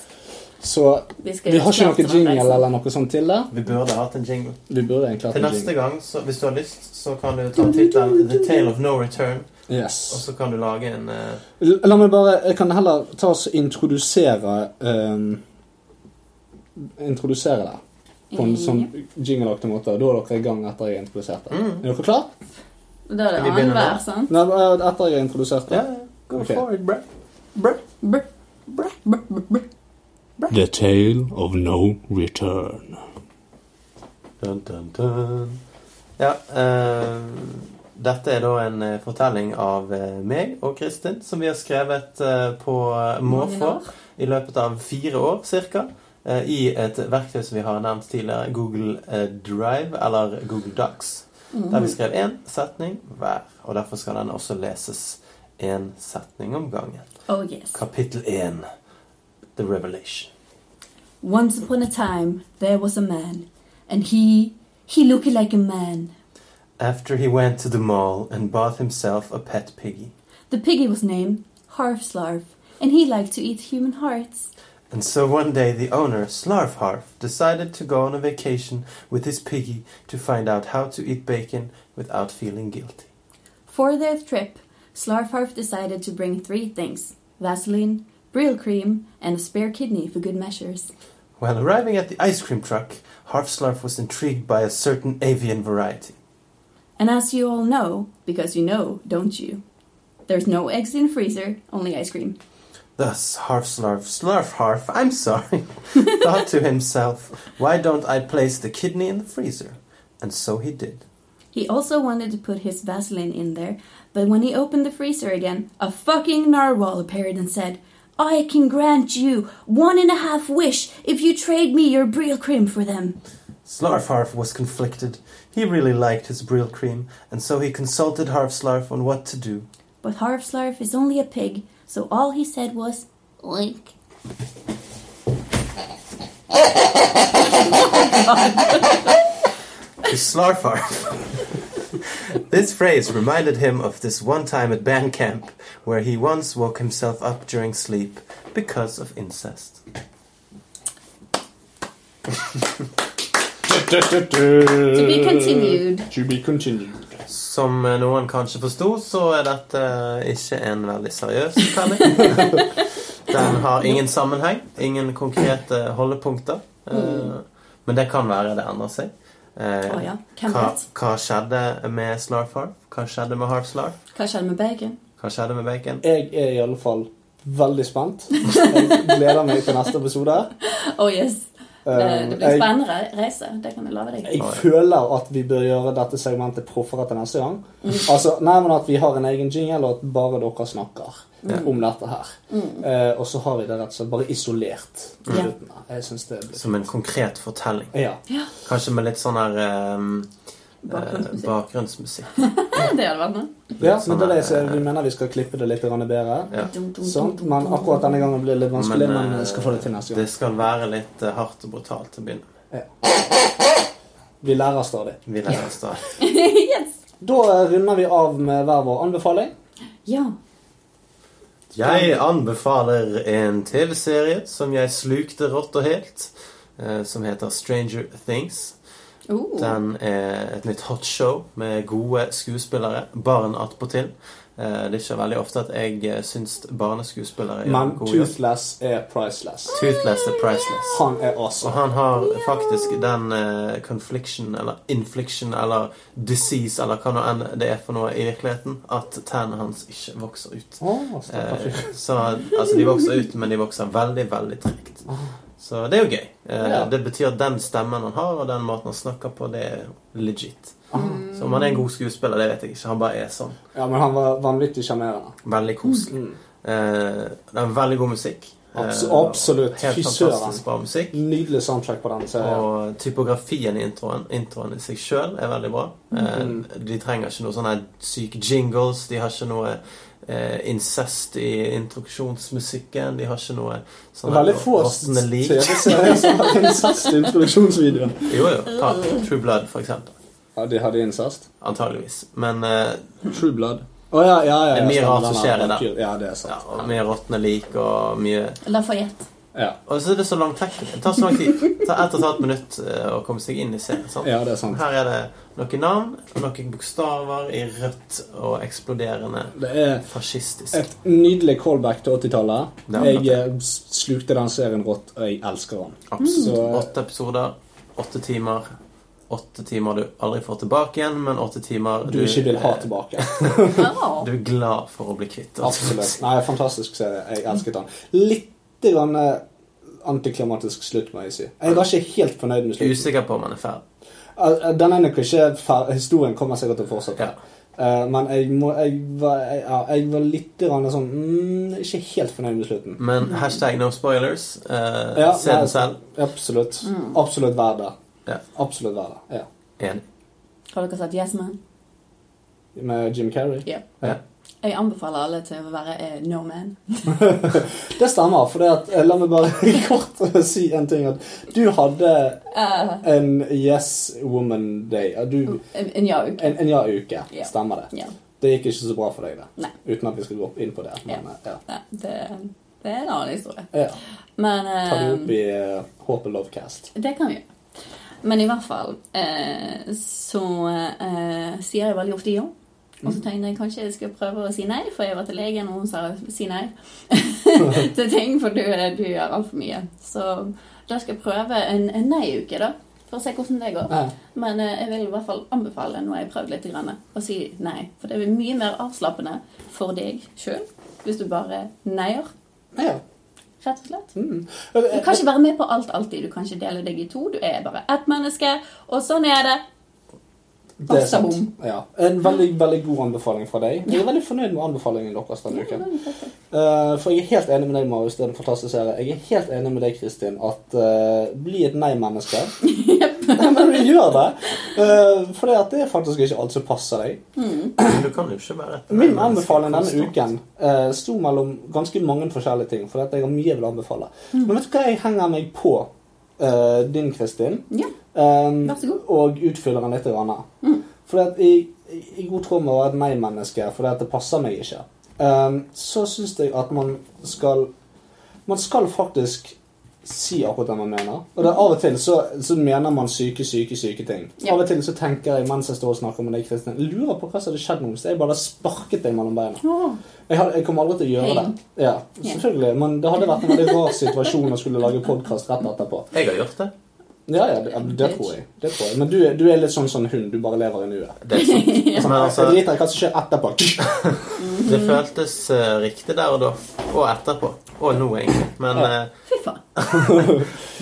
[SPEAKER 2] Så
[SPEAKER 3] Vi, skal
[SPEAKER 2] vi har ikke
[SPEAKER 3] gjøre oss
[SPEAKER 2] noe
[SPEAKER 3] klar til den
[SPEAKER 2] jingle
[SPEAKER 3] reisen.
[SPEAKER 2] eller noe sånt til det.
[SPEAKER 1] Vi burde hatt en jingle.
[SPEAKER 2] Vi burde egentlig hatt
[SPEAKER 1] Til
[SPEAKER 2] en
[SPEAKER 1] neste
[SPEAKER 2] jingle.
[SPEAKER 1] gang, så, hvis du har lyst, så kan du ta tittelen The Tale of No Return, og
[SPEAKER 2] Yes.
[SPEAKER 1] så kan du lage en eh,
[SPEAKER 2] La meg bare Jeg kan heller ta oss og introdusere eh, Introdusere det på en sånn jingleaktig måte. Da er dere i gang etter jeg har introdusert det.
[SPEAKER 1] mm.
[SPEAKER 2] Er dere klare?
[SPEAKER 3] Da er
[SPEAKER 1] Vi
[SPEAKER 3] det
[SPEAKER 1] begynner
[SPEAKER 3] annenhver,
[SPEAKER 1] nå.
[SPEAKER 3] sant?
[SPEAKER 2] Nei, eh, etter jeg har introdusert det.
[SPEAKER 1] Ja, go
[SPEAKER 2] Ok.
[SPEAKER 1] for it, bro. Bro.
[SPEAKER 3] Brr, brr, brr, brr, brr.
[SPEAKER 2] The tale of no return.
[SPEAKER 1] Dun, dun, dun. Ja, eh, dette er da en eh, fortelling av eh, meg og Kristin, som vi har skrevet eh, på eh, måfå
[SPEAKER 3] Mange år.
[SPEAKER 1] i løpet av fire år ca. I et verktøy som vi har nevnt tidligere, Google eh, Drive eller Google Docs. Der
[SPEAKER 3] Mm.
[SPEAKER 1] vi skrev én setning hver, og derfor skal den også leses én setning om gangen.
[SPEAKER 3] Oh yes.
[SPEAKER 1] Kapittel én, The Revelation.
[SPEAKER 3] Once upon a time, there was a man, and he, he looked like a man.
[SPEAKER 1] After he went to the mall and bought himself a pet piggy.
[SPEAKER 3] The piggy was named Harfslarf, and he liked to eat human hearts.
[SPEAKER 1] And so one day the owner, Slarfharf, decided to go on a vacation with his piggy to find out how to eat bacon without feeling guilty.
[SPEAKER 3] For their trip, Slarfarf decided to bring three things Vaseline, Brill cream, and a spare kidney for good measures.
[SPEAKER 1] While arriving at the ice cream truck, Harfslarf was intrigued by a certain avian variety.
[SPEAKER 3] And as you all know, because you know, don't you? There's no eggs in freezer, only ice cream.
[SPEAKER 1] Thus, Harfslarf, Slarfharf, I'm sorry, (laughs) thought to himself, why don't I place the kidney in the freezer? And so he did.
[SPEAKER 3] He also wanted to put his Vaseline in there, but when he opened the freezer again, a fucking narwhal appeared and said, I can grant you one and a half wish if you trade me your Brill cream for them.
[SPEAKER 1] Slarfharf was conflicted. He really liked his Brill cream, and so he consulted Harfslarf on what to do.
[SPEAKER 3] But Harfslarf is only a pig, so all he said was, Oink.
[SPEAKER 1] to Slarfarf. (laughs) this phrase reminded him of this one time at band camp where he once woke himself up during sleep because of incest.
[SPEAKER 3] To be continued.
[SPEAKER 2] To be continued.
[SPEAKER 1] Som eh, noen kanskje forsto, så er dette eh, ikke en veldig seriøs fortelling.
[SPEAKER 3] (laughs)
[SPEAKER 1] Den har ingen sammenheng, ingen konkrete holdepunkter. Eh, Men det kan være det endrer seg. Eh,
[SPEAKER 3] Mm. Å ja. Hvem
[SPEAKER 1] hva,
[SPEAKER 3] vet?
[SPEAKER 1] hva skjedde med Slarfarf? Hva skjedde med Harfslarf?
[SPEAKER 3] Hva skjedde med
[SPEAKER 2] (laughs)
[SPEAKER 3] bacon?
[SPEAKER 1] Hva skjedde med Bacon?
[SPEAKER 2] Jeg er i alle fall veldig spent. Jeg gleder meg til neste episode.
[SPEAKER 3] Oh yes. Det, det blir
[SPEAKER 2] Eh, jeg, Eh,
[SPEAKER 3] spennende re- reise. Det kan jeg love deg.
[SPEAKER 2] jeg føler at vi bør gjøre dette segmentet proffere til neste gang.
[SPEAKER 3] Mm.
[SPEAKER 2] Altså, nei, men At vi har en egen jingle, og at bare dere snakker
[SPEAKER 1] Ja.
[SPEAKER 2] om dette her.
[SPEAKER 3] Mm.
[SPEAKER 2] Eh, og så har vi det rett og slett bare isolert. på
[SPEAKER 3] Ja.
[SPEAKER 2] slutten her. Jeg synes det blir...
[SPEAKER 1] Som en konkret fortelling.
[SPEAKER 2] Ja.
[SPEAKER 1] Kanskje med litt sånn her ehm, eh,
[SPEAKER 3] Bakgrunnsmusikk.
[SPEAKER 1] bakgrunnsmusikk.
[SPEAKER 3] (laughs) Det hadde vært noe.
[SPEAKER 2] ja,
[SPEAKER 1] Litt
[SPEAKER 2] men
[SPEAKER 1] sånn
[SPEAKER 2] det er det jeg
[SPEAKER 1] her,
[SPEAKER 2] sier.
[SPEAKER 1] eh,
[SPEAKER 2] Vi mener vi skal klippe det litt grann bedre.
[SPEAKER 1] Ja.
[SPEAKER 3] Dum, dum, dum,
[SPEAKER 2] Sant? Sånn,
[SPEAKER 3] dum,
[SPEAKER 2] Men
[SPEAKER 3] dum,
[SPEAKER 2] akkurat denne gangen blir det litt vanskelig,
[SPEAKER 1] Men,
[SPEAKER 2] men,
[SPEAKER 1] eh,
[SPEAKER 2] vi skal få det til neste
[SPEAKER 1] Det
[SPEAKER 2] gang.
[SPEAKER 1] skal være litt eh, hardt og brutalt til å begynne med.
[SPEAKER 2] Vi lærer stadig.
[SPEAKER 1] Vil jeg helst da.
[SPEAKER 3] yes.
[SPEAKER 2] Da eh, runder vi av med hver vår anbefaling.
[SPEAKER 3] Ja.
[SPEAKER 1] Jeg anbefaler en TV-serie som jeg slukte rått og helt, eh, som heter Stranger Things.
[SPEAKER 3] Oh.
[SPEAKER 1] Den er et nytt hotshow med gode skuespillere, barn attpåtil, Eh, Det er ikke veldig ofte at jeg eh, syns barneskuespillere gjør
[SPEAKER 2] Men
[SPEAKER 1] en god jobb.
[SPEAKER 2] Toothless er priceless.
[SPEAKER 1] Toothless er priceless.
[SPEAKER 2] Han er
[SPEAKER 1] Og
[SPEAKER 2] awesome.
[SPEAKER 1] han har faktisk den eh, confliction, eller infliction, eller disease, eller hva nå enn det er for noe i virkeligheten, at tennene hans ikke vokser ut.
[SPEAKER 2] Oh,
[SPEAKER 1] Eh, så altså, de vokser ut, men de vokser veldig, veldig tregt. Så det er jo gøy. Eh,
[SPEAKER 2] Ah. Ja.
[SPEAKER 1] Det betyr at den stemmen han har, og den måten han snakker på, det er legit.
[SPEAKER 3] Mm.
[SPEAKER 2] Ah.
[SPEAKER 1] Så om han er en god skuespiller, det vet jeg ikke. Han bare er sånn.
[SPEAKER 2] ja, men han var vanvittig sjarmerende.
[SPEAKER 1] Veldig koselig.
[SPEAKER 2] Mm.
[SPEAKER 1] Eh, det er veldig god musikk. Eh,
[SPEAKER 2] Abs- absolutt.
[SPEAKER 1] Helt
[SPEAKER 2] Fy søren.
[SPEAKER 1] fantastisk bra musikk.
[SPEAKER 2] Nydelig soundtrack på den serien.
[SPEAKER 1] Og typografien i introen, introen i seg sjøl er veldig bra. Eh,
[SPEAKER 2] Mhm.
[SPEAKER 1] de trenger ikke noe sånne syke jingles. De har ikke noe eh, incest i introduksjonsmusikken. De har ikke noe sånne
[SPEAKER 2] Veldig få
[SPEAKER 1] råtne lik.
[SPEAKER 2] TV-serier som
[SPEAKER 1] (laughs)
[SPEAKER 2] har incest i introduksjonsvideoen.
[SPEAKER 1] Jo, jo. Ta True Blood, for eksempel.
[SPEAKER 2] Ja, de hadde incest.
[SPEAKER 1] Antageligvis. Men eh,
[SPEAKER 2] True Blood. Å ja, ja, ja.
[SPEAKER 1] Det er mye
[SPEAKER 2] stemmer,
[SPEAKER 1] rart
[SPEAKER 2] den
[SPEAKER 1] som
[SPEAKER 2] her
[SPEAKER 1] skjer i
[SPEAKER 2] vampyr- Ja, det er
[SPEAKER 1] ja,
[SPEAKER 2] sant.
[SPEAKER 1] og mye råtne lik og mye (laughs)
[SPEAKER 3] Lafayette.
[SPEAKER 2] Ja,
[SPEAKER 1] Og så er det så lang tekst. Det tar så lang tid. Det tar ett og et halvt minutt eh, å komme seg inn i serien. sant?
[SPEAKER 2] ja det er sant.
[SPEAKER 1] Her er det noen navn og noen bokstaver i rødt og eksploderende
[SPEAKER 2] Det er
[SPEAKER 1] fascistisk.
[SPEAKER 2] et nydelig callback til 80-tallet.
[SPEAKER 1] Ja,
[SPEAKER 2] Jeg eh, slukte den serien rått, og jeg elsker den.
[SPEAKER 1] Absolutt.
[SPEAKER 2] Mm.
[SPEAKER 1] Åtte episoder, åtte timer. Åtte timer du aldri får tilbake igjen, men åtte timer
[SPEAKER 2] Du ikke vil ha
[SPEAKER 1] eh, (laughs)
[SPEAKER 2] tilbake.
[SPEAKER 3] Oh.
[SPEAKER 1] Du er glad for å bli kvitt.
[SPEAKER 2] Absolutt. Nei, fantastisk serie.
[SPEAKER 1] Mm.
[SPEAKER 2] Jeg elsket den. Litt grann eh, antiklimatisk slutt, må jeg si. Jeg var ikke helt fornøyd
[SPEAKER 1] Jeg
[SPEAKER 2] med
[SPEAKER 1] er (laughs)
[SPEAKER 2] slutten.
[SPEAKER 1] Usikker på om han er ferdig.
[SPEAKER 2] Eh, eh, Den er nok ikke fer- Historien kommer sikkert til å fortsette.
[SPEAKER 1] Ja.
[SPEAKER 2] Eh, Men jeg, må, jeg, var, jeg, ja, jeg var litt grann sånn mm, Ikke helt fornøyd med slutten.
[SPEAKER 1] Men hashtag no spoilers. Eh,
[SPEAKER 2] Ja,
[SPEAKER 1] Mm. se
[SPEAKER 2] nei. altså-
[SPEAKER 1] den selv.
[SPEAKER 2] Absolutt.
[SPEAKER 3] Mm.
[SPEAKER 2] Absolutt verd det.
[SPEAKER 1] Ja.
[SPEAKER 2] Absolutt verd det. Ja.
[SPEAKER 1] Enig.
[SPEAKER 3] Har dere sett Yes Man?
[SPEAKER 2] Med Jim Carrey.
[SPEAKER 3] Jeg anbefaler alle til å være eh, no man.
[SPEAKER 2] Det stemmer. For at, eh, la meg bare (laughs) kort si en ting. At du hadde
[SPEAKER 3] Eh,
[SPEAKER 2] en Yes Woman Day. Ja, Du,
[SPEAKER 3] en Eh, en jaug.
[SPEAKER 2] en, en ja-uke.
[SPEAKER 3] Ja.
[SPEAKER 2] Stemmer det.
[SPEAKER 3] Ja.
[SPEAKER 2] Det gikk ikke så bra for deg, det.
[SPEAKER 3] Nei.
[SPEAKER 2] Uten at vi skal gå opp inn på det. Men, ja.
[SPEAKER 3] Nei, det, det er en annen historie.
[SPEAKER 2] Ja.
[SPEAKER 3] Men
[SPEAKER 2] Ta det opp
[SPEAKER 3] eh,
[SPEAKER 2] i eh, Håpet Lovecast.
[SPEAKER 3] Det kan vi gjøre. Men i hvert fall eh, så eh, sier jeg veldig ofte ja. Og
[SPEAKER 2] Mm.
[SPEAKER 3] så tenkte jeg kanskje jeg skulle prøve å si nei, for jeg var til legen, og hun sa si nei til ting, for du, eh, du gjør altfor mye. Så da skal jeg prøve en, en nei-uke, da. For å se hvordan det går.
[SPEAKER 2] Ja.
[SPEAKER 3] Men eh, jeg vil i hvert fall anbefale, nå har jeg prøvd litt, grann, å si nei. For det er mye mer avslappende for deg sjøl hvis du bare neier,
[SPEAKER 2] Ja.
[SPEAKER 3] rett og slett.
[SPEAKER 2] Mm.
[SPEAKER 3] Du kan ikke være med på alt alltid. Du kan ikke dele deg i to. Du er bare ett menneske, og sånn er det.
[SPEAKER 2] Det er
[SPEAKER 3] Passe
[SPEAKER 2] sant.
[SPEAKER 3] bom.
[SPEAKER 2] Ja. En veldig, veldig god anbefaling fra deg. Jeg er veldig fornøyd med anbefalingen deres denne uken. Eh, for jeg er helt enig med deg, Marius. Det er en fantastisk serie. Jeg er helt enig med deg, Kristin, at eh, bli et nei-menneske. (laughs) Nei, Men du gjør det. Eh, for det, at det er faktisk ikke alt som passer deg.
[SPEAKER 3] Mm.
[SPEAKER 1] Men Du kan jo ikke være et
[SPEAKER 2] Min
[SPEAKER 1] menneske
[SPEAKER 2] anbefaling denne
[SPEAKER 1] konstant.
[SPEAKER 2] uken eh, sto mellom ganske mange forskjellige ting. For at jeg har mye jeg vil anbefale. Men vet du hva jeg henger meg på? eh, din, Kristin.
[SPEAKER 3] Ja.
[SPEAKER 2] Um,
[SPEAKER 3] Vær så god. Mm.
[SPEAKER 2] og utfyller den litt. Grann. Fordi at jeg, jeg- i god tråd med å være et nei-menneske, fordi at det passer meg ikke, um, så syns jeg at man skal Man skal faktisk si akkurat det man mener. Og det, er av og til så, så mener man syke, syke, syke ting.
[SPEAKER 3] Ja.
[SPEAKER 2] Av og til så tenker jeg mens jeg står og snakker med deg, Kristin, jeg lurer på hva som hadde skjedd nå hvis jeg bare hadde sparket deg mellom beina.
[SPEAKER 3] Åh.
[SPEAKER 2] Jeg, har, jeg kommer aldri til å gjøre
[SPEAKER 3] Hei.
[SPEAKER 2] det. Ja, selvfølgelig. Men det hadde vært en veldig rar situasjon å skulle lage podkast rett etterpå.
[SPEAKER 1] Jeg har gjort det.
[SPEAKER 2] Ja, ja, det, det, tror jeg. det tror jeg. Men du, er- du er litt sånn sånn hund. Du bare lever i nuet. Sånn,
[SPEAKER 1] Det er sant.
[SPEAKER 2] (laughs)
[SPEAKER 1] Men altså,
[SPEAKER 2] Jeg driter i hva som skjer etterpå.
[SPEAKER 1] det føltes eh, riktig der og da. Og etterpå. Og nå, egentlig. Men, eh,
[SPEAKER 3] Fy faen.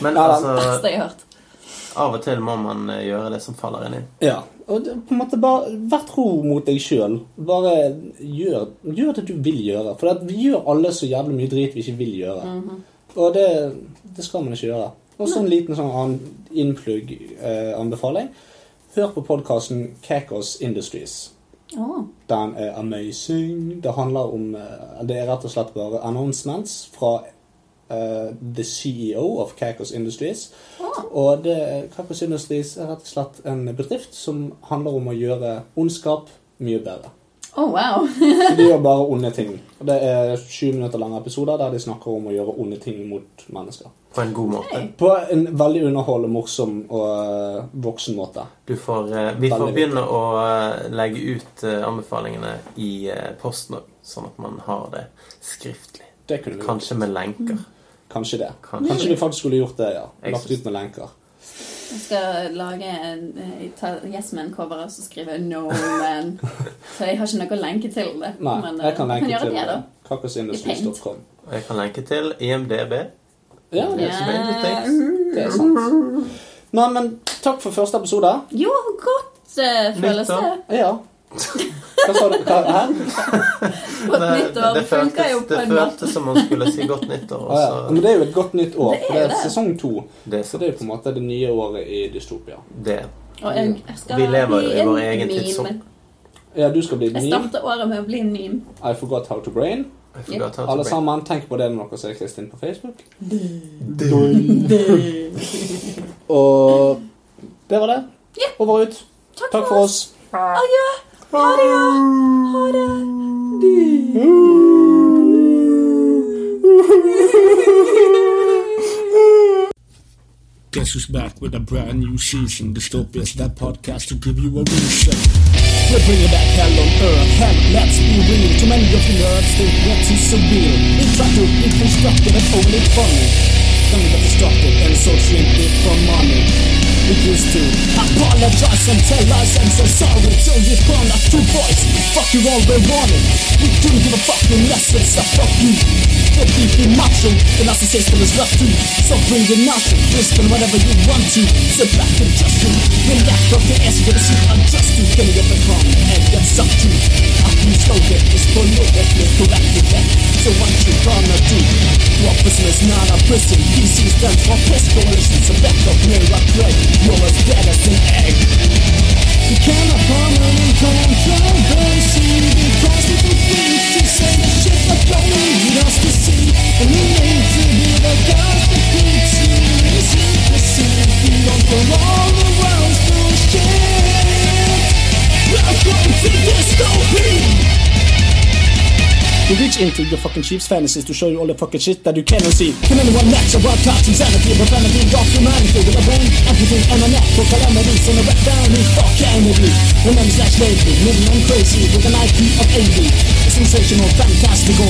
[SPEAKER 1] men
[SPEAKER 2] Ja, da.
[SPEAKER 1] altså
[SPEAKER 3] Verste jeg har hørt.
[SPEAKER 1] Av og til må man eh, gjøre det som faller inn i.
[SPEAKER 2] Ja. Og det- på en måte bare Vær tro mot deg sjøl. Bare gjør, gjør det du vil gjøre. For at vi gjør alle så jævlig mye drit vi ikke vil gjøre.
[SPEAKER 3] Mhm.
[SPEAKER 2] Og det, det skal man ikke gjøre. Og så en liten sånn an- innplugg-anbefaling. Hør på podkasten Cacos Industries.
[SPEAKER 3] Åh.
[SPEAKER 2] Den er amazing. Det handler om eh, Det er rett og slett bare announcements fra eh, the CEO of Cacos Industries.
[SPEAKER 3] Åh.
[SPEAKER 2] Og det, Cacos Industries er rett og slett en bedrift som handler om å gjøre ondskap mye bedre.
[SPEAKER 3] Oh, wow.
[SPEAKER 2] Så de gjør bare onde ting. Og Det er sju minutter lange episoder der de snakker om å gjøre onde ting mot mennesker.
[SPEAKER 1] På en god måte.
[SPEAKER 2] På en veldig underholdende, morsom og eh, voksen måte.
[SPEAKER 1] Du får, eh, vi får
[SPEAKER 2] Veldig
[SPEAKER 1] begynne å eh, legge ut eh, anbefalingene i eh, posten òg, sånn at man har det skriftlig.
[SPEAKER 2] Det kunne vi gjort.
[SPEAKER 1] Kanskje med lenker.
[SPEAKER 2] Kanskje det.
[SPEAKER 1] Kanskje.
[SPEAKER 2] Kanskje vi faktisk skulle gjort det, ja.
[SPEAKER 1] Jeg
[SPEAKER 2] Lagt
[SPEAKER 1] synes-
[SPEAKER 2] ut med lenker.
[SPEAKER 3] Jeg skal lage en, eh, ta Yes Man-cover og så skrive No Man. Så jeg har ikke noe å lenke til det.
[SPEAKER 2] Nei,
[SPEAKER 3] men, eh,
[SPEAKER 2] jeg kan
[SPEAKER 3] du (laughs)
[SPEAKER 2] lenke
[SPEAKER 3] gjøre
[SPEAKER 2] til eh,
[SPEAKER 3] det, da.
[SPEAKER 2] kakasindustries.com.
[SPEAKER 1] Og jeg kan lenke til IMDb.
[SPEAKER 2] Ja, det,
[SPEAKER 1] Yes Man Takes.
[SPEAKER 2] det
[SPEAKER 1] sånn.
[SPEAKER 2] er sant. Nei, men takk for første episode.
[SPEAKER 3] Jo, godt eh, føles
[SPEAKER 1] Nytt år.
[SPEAKER 3] det.
[SPEAKER 2] Ja. Hva sa du? Hva, hæ?
[SPEAKER 3] Godt nyttår. Det funker jo på
[SPEAKER 1] det
[SPEAKER 3] en måte.
[SPEAKER 1] føltes som man skulle si godt nyttår,
[SPEAKER 2] Ah, (laughs) ja.
[SPEAKER 1] og
[SPEAKER 2] Men det er jo et godt nytt år,
[SPEAKER 3] Det er
[SPEAKER 2] for det er
[SPEAKER 3] det.
[SPEAKER 2] sesong to.
[SPEAKER 1] så det,
[SPEAKER 2] Så det er jo på en måte det nye året i dystopia.
[SPEAKER 1] det.
[SPEAKER 3] Og jeg, jeg skal
[SPEAKER 1] Vi lever jo i
[SPEAKER 3] bli en
[SPEAKER 1] vår egen
[SPEAKER 3] meme.
[SPEAKER 1] tidsånd.
[SPEAKER 2] Ja, du skal bli et
[SPEAKER 3] Jeg
[SPEAKER 2] meme.
[SPEAKER 3] starter året med å bli en meme.
[SPEAKER 2] I forgot how to brain.
[SPEAKER 1] Jeg forgot how to
[SPEAKER 2] Alle
[SPEAKER 1] break.
[SPEAKER 2] sammen, tenk på det når dere ser Kristin på Facebook. Og det var det.
[SPEAKER 3] Ja.
[SPEAKER 2] Over og ut. Takk for oss.
[SPEAKER 3] Adjø. Ha det, ja. Ha det.
[SPEAKER 4] Guess who's back with a brand new season? Dystopia's that podcast to give you a reason. We're bringing back hell on earth. Hell, let's be real. Too many of the nerds think we're too surreal. They try to be constructive and only funny. Coming up destructive and searching it for money. We used to apologize and tell lies and so sorry till you burn us two boys. Fuck you all we wanted. We couldn't give a fucking lesson, so fuck you. The beefy macho, the narcissist that is left to. So bring your nothing, just spend whatever you want to. Sit back and just do. Relax, drop the ass with a seat unjust to. Gonna get the calm and get sucked to. How can you slow it? It's politically correct with that. So what you gonna do? Your prison is not a prison. PC stands for piss coalition. So back up here, I pray. You're as bad as an egg. You cannot harm an controversy Because people think to say the shit that don't need us to see And we need to be the guys that keeps you in secrecy You don't go all around bullshit Welcome to dystopia you reach into your fucking chief's fantasies to show you all the fucking shit that you cannot see. Can anyone match about touch insanity, profanity, dark humanity with a brain, empathy, and a knack for calamities on a back down in fuck energy? Remember slash lately, moving on crazy with an IQ of 80. Sensational, fantastical.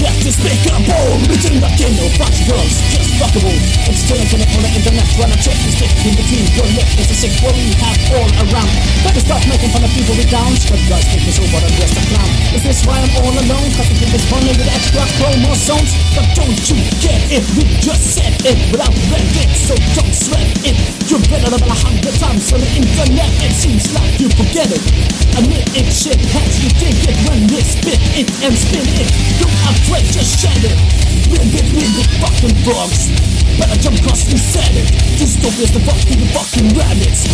[SPEAKER 4] Yet despicable, between the king of fox girls, just fuckable. It's still infinite on the internet when I check the stick in between your lip is a sick worry you have all around. Better stop making fun of people with downs, but guys think me so what I'm just a clown. Is this why I'm all alone? Cause I think it's funny with extra chromosomes. But don't you get it? We just said it without Reddit, so don't sweat it. You're better than a hundred times on the internet. It seems like you forget it. Admit it, shit has you think it when you spit it and spin it. Don't afraid, just shed it. Rip it, rip it, fucking bugs. Better jump cause we said it. Dystopia's the fucking the fucking rabbits.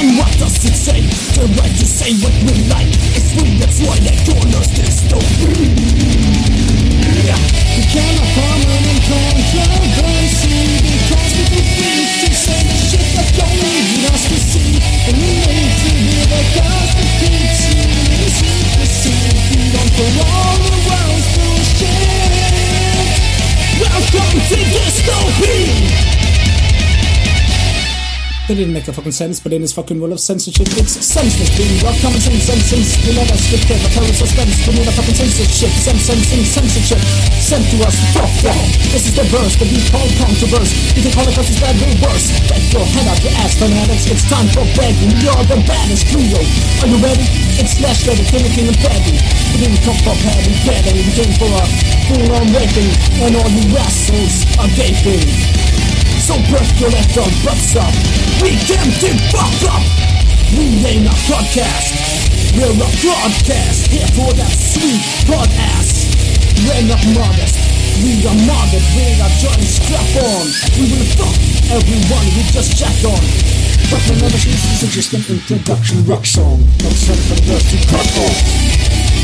[SPEAKER 4] And what does it say? The right to say what we like. It's we that's why they call us dystopia. We cannot harm an controversy because we do things to say the shit that don't need us to see. And we need to be the guys that keeps you in secrecy. We don't go all around bullshit. Welcome to dystopia. They didn't make a fucking sense, but in this fucking world of censorship, it's senseless. Being rock, common sense, and sense. We let us slip there, but terror suspense. We need a fucking censorship, sense, sense, and censorship. Sent to us, fuck them. This is the verse that we call controverse. You think Holocaust is bad, we're worse. Get your head out your ass, fanatics. It's time for begging. You're the baddest trio. Are you ready? It's slash ready, finicking and petty. We didn't come for petty, petty. We came for a full-on raping, and all you assholes are gaping. So breath your left on butts up We can give fuck up We ain't a podcast We're a broadcast Here for that sweet pod ass We're not modest We are modded We're a joint strap on We will fuck everyone we just jack on But remember this is just an introduction rock song Not something that you cut off